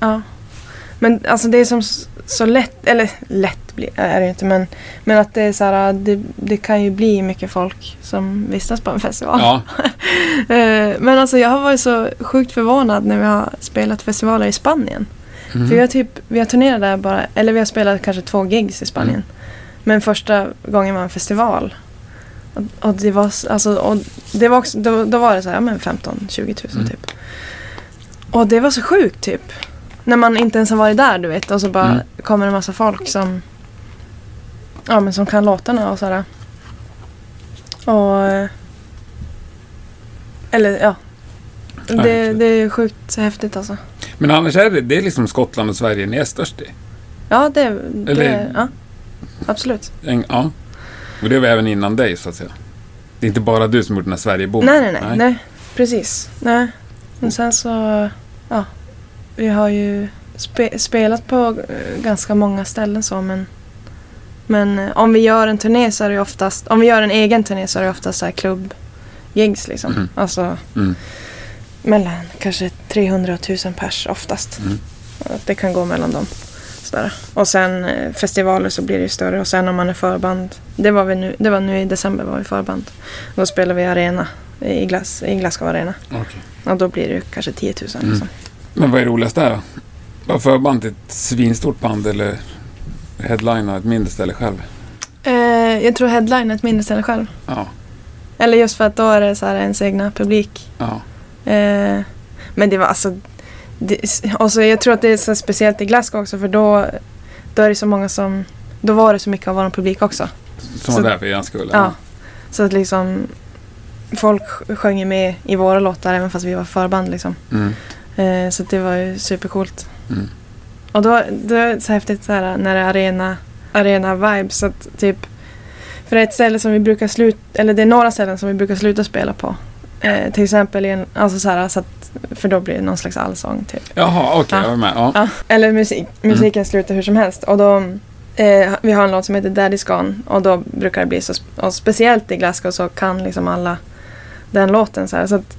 A: ja. Men alltså det är som s- så lätt, eller lätt bli- är det ju inte men, men att det är så här, det, det kan ju bli mycket folk som vistas på en festival.
B: Ja.
A: Eh, Men alltså jag har varit så sjukt förvånad när vi har spelat festivaler i Spanien.
B: Mm.
A: För vi har, typ, vi har turnerat där bara, eller vi har spelat kanske två gigs i Spanien.
B: Mm.
A: Men första gången var en festival. Och, och det var, s- alltså, och det var också, då, då var det så här, ja men 15-20 000
B: Mm.
A: typ. Och det var så sjukt typ. När man inte ens har varit där du vet och så bara
B: Mm.
A: kommer en massa folk som, ja men som kan låtarna och sådär. Och, eh, eller ja. Det,
B: Härligt.
A: det är sjukt häftigt alltså.
B: Men annars är det, det är liksom Skottland och Sverige ni är störst i.
A: Ja, det... det
B: Eller-
A: ja. Absolut.
B: En- Ja. Och det var även innan dig så att säga. Det är inte bara du som gjort den här Sverigebomben.
A: Nej, nej, nej, nej. precis. Nej. Men sen så... Ja. Vi har ju spe, spelat på eh, ganska många ställen så men... Men eh, om vi gör en turné så är det ju oftast... Om vi gör en egen turné så är det oftast så här klubbgigs liksom.
B: Mm.
A: Alltså
B: Mm.
A: mellan kanske 300 och 1000 pers oftast.
B: Mm.
A: Att Det kan gå mellan dem. Sådär. Och sen eh, festivaler så blir det ju större och sen om man är förband. Det var, vi nu, det var nu i december var vi förband. Då spelar vi arena i, Glas, i Glasgow Arena.
B: Okej.
A: Och då blir det ju kanske 10 000. Liksom.
B: Mm. Men vad är roligast där då? Var förband till ett svinstort band eller headlina ett mindre ställe själv?
A: Eh, jag tror headline är ett mindre ställe själv.
B: Ja.
A: Eller just för att då är det så här ens egna publik.
B: ja.
A: Eh, men det var alltså... Det, och så jag tror att det är så speciellt i Glasgow också för då, då är det så många som... Då var det så mycket av vår publik också.
B: Som
A: Så-
B: var där för er skull?
A: Ja. Så att liksom... Folk sj- sjöng ju med i våra låtar även fast vi var förband liksom.
B: Mm.
A: Eh, så att det var ju supercoolt.
B: Mm.
A: Och då, då är det så häftigt så här, när det är arena, arena vibes. Så att typ, för det är ett ställe som vi brukar sluta, eller det är några ställen som vi brukar sluta spela på. Eh, till exempel i en, alltså så här, så att, för då blir det någon slags allsång typ.
B: Jaha, okej,
A: Ja.
B: jag är med. Ja. Mm.
A: Ja. Eller musik, musiken slutar hur som helst. Och då, Eh, vi har en låt som heter Daddy's Gone och då brukar det bli så, och speciellt i Glasgow så kan liksom alla den låten så här. Så att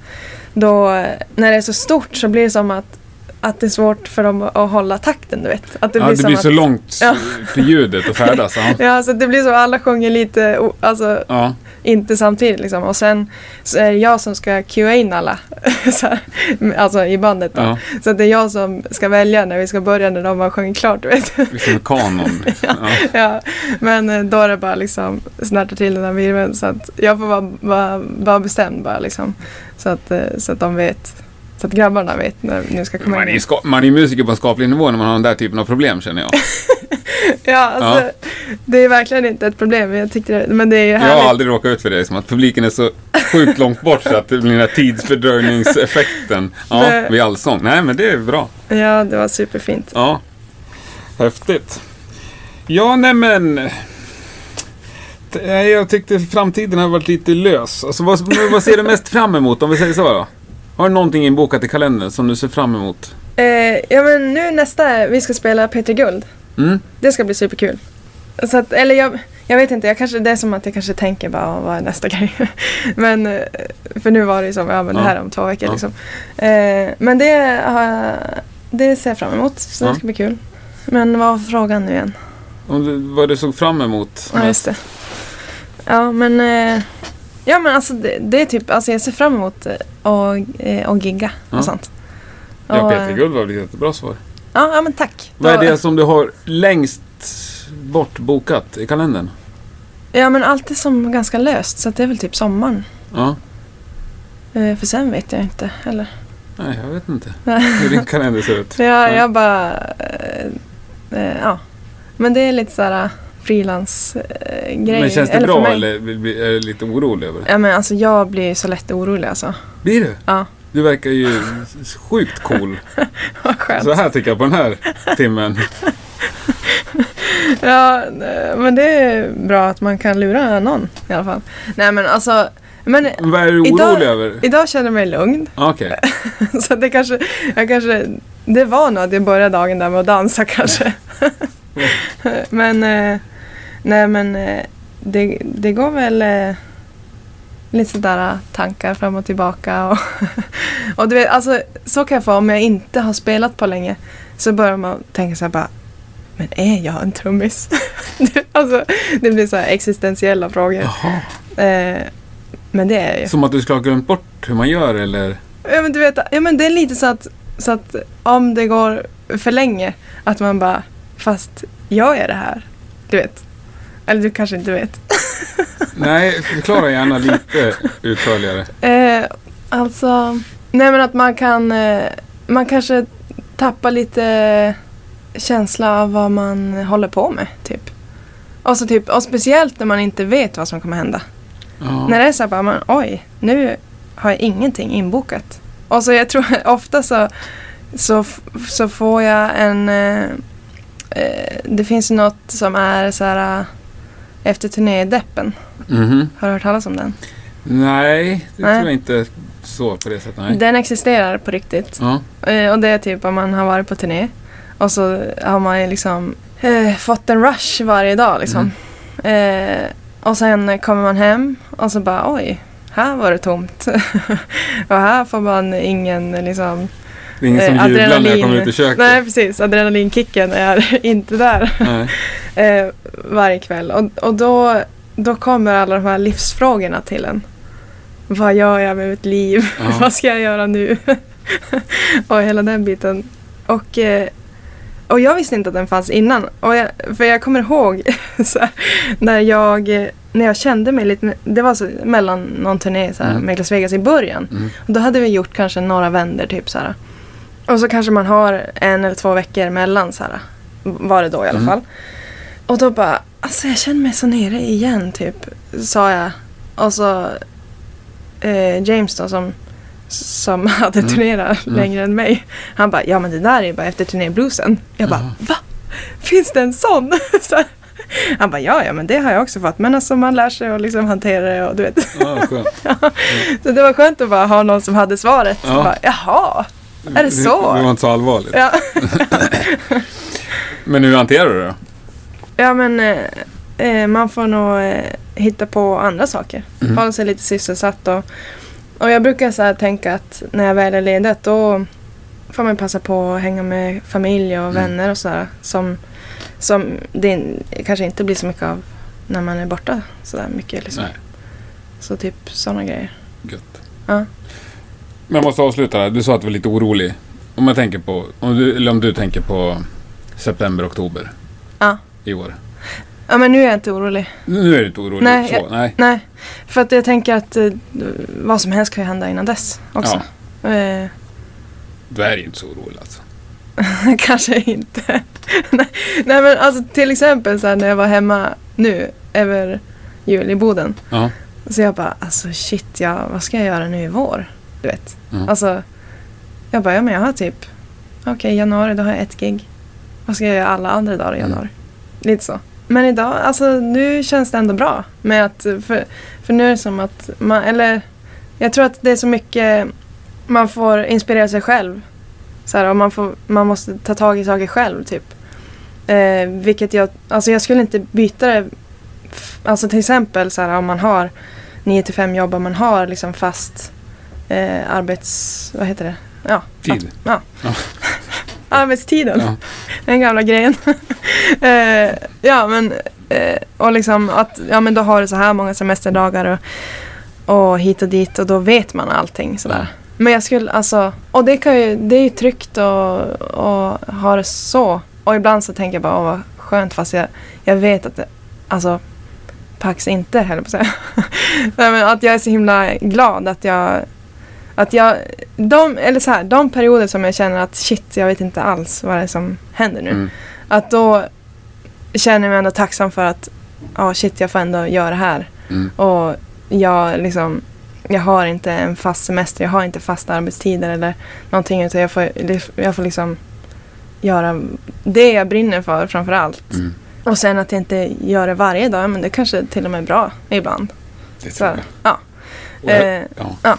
A: då, eh, när det är så stort så blir det som att, att det är svårt för dem att hålla takten, du vet. Att det
B: ja, det
A: som
B: blir
A: att,
B: så långt
A: Ja.
B: för ljudet att färdas. Ja.
A: Ja, så att det blir som att alla sjunger lite, o- alltså
B: Ja.
A: inte samtidigt liksom. Och sen så är det jag som ska cuea in alla, så här, alltså i bandet då.
B: Ja.
A: Så att det är jag som ska välja när vi ska börja när de har sjungit klart, du vet.
B: Liksom kanon. Ja.
A: Ja, men eh, då är det bara liksom snärta till den här virveln så att jag får vara, vara, vara bestämd bara liksom. Så att, eh, så att de vet, så att grabbarna vet när nu ska komma
B: Man är,
A: in.
B: ska- man är musiker på en skaplig nivå när man har den där typen av problem känner jag.
A: Ja, alltså, det är verkligen inte ett problem. Jag tyckte det, men det är ju
B: Jag har
A: härligt.
B: aldrig råkat ut för det, som att publiken är så sjukt långt bort så att det blir den här tidsfördröjningseffekten ja,
A: Nej.
B: vid allsång. Nej, men det är bra.
A: Ja, det var superfint.
B: Ja. Häftigt. Ja, nej men. T- nej, Jag tyckte framtiden har varit lite lös. Alltså, vad, vad ser du mest fram emot om vi säger så då? Har du någonting inbokat i kalendern som du ser fram emot?
A: Eh, ja, men nu nästa, vi ska spela Peter Guld.
B: Mm?
A: Det ska bli superkul. Så att, eller jag, jag vet inte, jag kanske, det är som att jag kanske tänker bara "Åh, vad är nästa grej. men, eh, för nu var det ju som, ja men det här
B: Ja.
A: om två veckor
B: Ja.
A: liksom. Eh, men det, har jag- det ser jag fram emot, så
B: Ja.
A: det ska bli kul. Men vad var frågan nu igen?
B: Om du, vad du såg fram emot?
A: Ja, just det. Ja, men, eh, ja, men alltså det, det är typ, alltså jag ser fram emot eh, att eh, att gigga
B: Ja.
A: och sånt.
B: Ja,
A: Och,
B: Peter
A: eh,
B: Guld var väl ett jättebra svar.
A: Ja, ja men tack.
B: Vad är
A: Då-
B: det som du har längst bort bokat i kalendern?
A: Ja, men allt är som ganska löst, så att det är väl typ sommaren.
B: Ja,
A: Eh, För sen vet jag inte heller.
B: nej jag vet inte
A: Nej.
B: hur din kalender ser ut.
A: Så jag,
B: Nej.
A: jag bara... eh, eh, Ja. Men det är lite eh, såhär frilansgrej.
B: Men känns det bra eller blir- blir- är du lite orolig över det?
A: Ja, men alltså jag blir så lätt orolig alltså.
B: Blir du?
A: Ja.
B: Du verkar ju s- sjukt cool.
A: Vad skönt.
B: Så här tycker jag på den här timmen.
A: Ja, eh, men det är bra att man kan lura någon i alla fall. Nej men alltså, men
B: Vad är du orolig
A: Idag-
B: över?
A: idag känner jag mig lugn.
B: Ja, Okej.
A: Så det kanske, jag kanske, det var nog att jag började dagen där med att dansa kanske. men, eh, nej men eh, det, det går väl eh, lite sådär eh, tankar fram och tillbaka. Och, och du vet, alltså så kan jag få om jag inte har spelat på länge. Så börjar man tänka såhär bara, men är jag en trummis? alltså det blir så här existentiella frågor.
B: Jaha.
A: Eh, men det är jag ju.
B: Som att du skulle ha glömt bort hur man gör eller?
A: Ja men du vet, ja, men det är lite så att, så att om det går för länge att man bara, fast jag är det här. Du vet. Eller du kanske inte vet.
B: Nej, förklara gärna lite utförligare.
A: Eh, alltså, nej men att man kan, eh, man kanske tappar lite känsla av vad man håller på med typ. Och, så typ, och speciellt när man inte vet vad som kommer hända.
B: Ja.
A: När det är så här bara, man, oj, nu har jag ingenting inbokat. Och så jag tror ofta så, så, f- så får jag en... Eh, eh, det finns ju något som är så här eh, efter turnédeppen.
B: Mhm.
A: Har du hört talas om den?
B: Nej, det
A: Nej.
B: tror jag inte så på det sättet. Nej.
A: Den existerar på riktigt.
B: Ja.
A: Eh, och det är typ om man har varit på turné och så har man ju liksom eh, fått en rush varje dag liksom. Eh, och sen kommer man hem och så bara oj, här var det tomt. och här får man ingen liksom...
B: Det är ingen som
A: eh,
B: jublar när jag kommer ut i köket.
A: Nej precis, adrenalinkicken är inte där
B: Nej.
A: eh, varje kväll. Och, och då, då kommer alla de här livsfrågorna till en. Vad gör jag med mitt liv?
B: Ja.
A: Vad ska jag göra nu? och hela den biten. Och, eh, och jag visste inte att den fanns innan. Och jag, för jag kommer ihåg så här, när, jag, eh, när jag kände mig lite, det var så, mellan någon turné så här,
B: Mm.
A: med Las Vegas i början.
B: Mm.
A: Och Då hade vi gjort kanske några vänder typ så här. Och så kanske man har en eller två veckor emellan så här. Var det då i alla
B: Mm.
A: fall. Och då bara, alltså jag känner mig så nere igen typ. Sa jag. Och så eh, James då som, som hade
B: Mm.
A: turnerat
B: Mm.
A: längre än mig. Han bara, ja men det där är ju bara efter turnébluesen. Jag bara,
B: Jaha.
A: va? Finns det en sån? så här. Han bara, ja ja men det har jag också fått. Men alltså man lär sig att liksom hantera det och du vet.
B: Ja, skönt.
A: Så det var skönt att bara ha någon som hade svaret.
B: Ja.
A: Bara, Jaha, är det så?
B: Det var inte så allvarligt.
A: Ja.
B: Men hur hanterar du det då?
A: Ja men eh, eh, man får nog eh, hitta på andra saker.
B: Mm.
A: Hålla sig lite sysselsatt och, och jag brukar så här tänka att när jag väl är ledigt då får man passa på att hänga med familj och
B: Mm.
A: vänner och sådär som, som det in- kanske inte blir så mycket av när man är borta sådär mycket. Liksom.
B: Nej.
A: Så typ sådana grejer.
B: Gött.
A: Ja.
B: Men jag måste avsluta där. Du sa att du var lite orolig. Om jag tänker på, om du, eller om du tänker på september, oktober
A: Ja.
B: i år.
A: Ja men nu är jag inte orolig.
B: Nu är du inte orolig.
A: Nej,
B: så.
A: jag-
B: Nej.
A: Nej, för att jag tänker att eh, vad som helst kan ju hända innan dess också. Eh,
B: Du är ju inte så orolig alltså.
A: Kanske inte. Nej nej, men alltså till exempel så här, när jag var hemma nu över jul i Boden.
B: Ja.
A: Så jag bara, alltså shit, ja, vad ska jag göra nu i vår? Du vet.
B: Mm.
A: Alltså, jag bara, ja men jag har typ, okej januari då har jag ett gig. Vad ska jag göra alla andra dagar i
B: Mm.
A: januari? Lite så. Men idag, alltså nu känns det ändå bra. Med att, för, för nu är det som att man, eller jag tror att det är så mycket man får inspirera sig själv. Så här, och man, får, man måste ta tag i saker själv typ. Eh, vilket jag, alltså jag skulle inte byta det. f- Alltså till exempel så här, om man har 9 till 5 jobb om man har liksom fast eh, arbets... Vad heter det? Ja,
B: Tid.
A: Att, ja.
B: Ja.
A: Arbetstiden,
B: Ja.
A: den gamla grejen. eh, ja, men eh, och liksom att ja, men då har du så här många semesterdagar och, och hit och dit och då vet man allting sådär. Men jag skulle alltså, och det, kan ju, det är ju tryggt och, och ha det så. Och ibland så tänker jag bara, åh vad skönt fast jag, jag vet att det, alltså Pax inte heller på att säga. Nej, men att jag är så himla glad att jag, att jag, de, eller så här, de perioder som jag känner att shit, jag vet inte alls vad det är som händer nu.
B: Mm.
A: Att då känner jag mig ändå tacksam för att ja shit jag får ändå göra det här.
B: Mm.
A: Och jag liksom jag har inte en fast semester, jag har inte fasta arbetstider eller någonting utan jag får, jag får liksom göra det jag brinner för framför allt.
B: Mm.
A: Och sen att jag inte gör det varje dag, men det kanske till och med är bra ibland.
B: Det
A: Så,
B: tror jag.
A: här, ja.
B: Och jag,
A: Eh,
B: ja.
A: ja.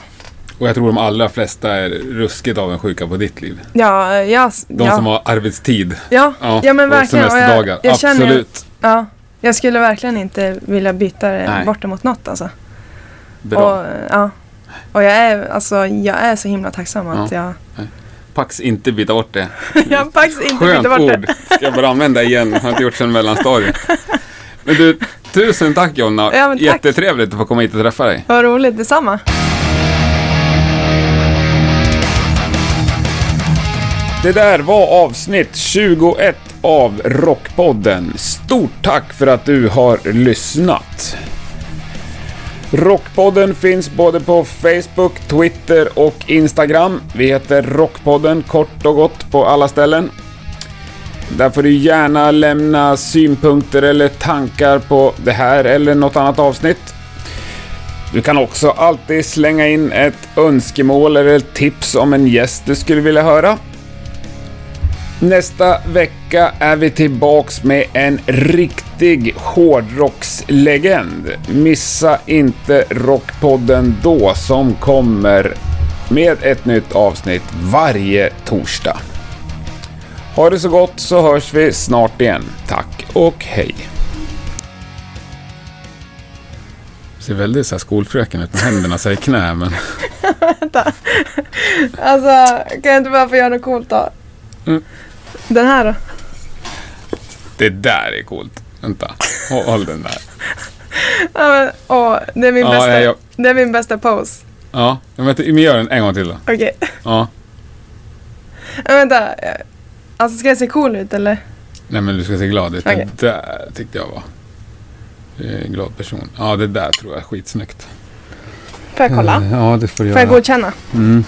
B: Och jag tror de allra flesta är ruskigt avundsjuka på ditt liv.
A: Ja, jag,
B: De
A: ja,
B: som har arbetstid.
A: ja,
B: Ja,
A: ja, men
B: och
A: verkligen. Och
B: semesterdagar.
A: jag, jag känner,
B: Absolut.
A: Ja, jag skulle verkligen inte vilja byta det
B: Nej.
A: bort det mot något alltså.
B: Bra.
A: Och, eh, ja. och jag, är, alltså, jag är så himla tacksam att jag...
B: Pax inte byta bort det.
A: jag har faktiskt inte
B: Skönt
A: bytt bort det.
B: ord. Ska jag bara använda igen. Har inte gjort sedan mellanstadiet. Men du, tusen tack Jonna.
A: Ja, men tack.
B: Jättetrevligt att få komma hit och träffa dig.
A: Vad roligt, detsamma.
B: Det där var avsnitt 21 av Rockpodden. Stort tack för att du har lyssnat. Rockpodden finns både på Facebook, Twitter och Instagram. Vi heter Rockpodden kort och gott på alla ställen. Där får du gärna lämna synpunkter eller tankar på det här eller något annat avsnitt. Du kan också alltid slänga in ett önskemål eller ett tips om en gäst du skulle vilja höra. Nästa vecka är vi tillbaks med en riktig hårdrockslegend. Missa inte Rockpodden då som kommer med ett nytt avsnitt varje torsdag. Ha det så gott så hörs vi snart igen. Tack och hej. Ser väldigt så här skolfröken ut med händerna så här i knä men...
A: Alltså, kan jag inte bara få göra något coolt då?
B: Mm.
A: Den här då?
B: Det där är coolt. Vänta, håll håll den där.
A: Ja, men, åh, det, är min
B: Ja,
A: bästa,
B: nej, jag-
A: det är min bästa pose.
B: Ja, men men gör den en gång till då.
A: Okej.
B: Ja.
A: Ja, vänta. Alltså, ska jag se cool ut eller?
B: Nej men du ska se glad ut.
A: Okej.
B: Det där tyckte jag var. Du är en glad person. Ja, det där tror jag är skitsnyggt.
A: Får jag kolla?
B: Eh, Ja, det får du
A: Får jag godkänna?
B: Mm.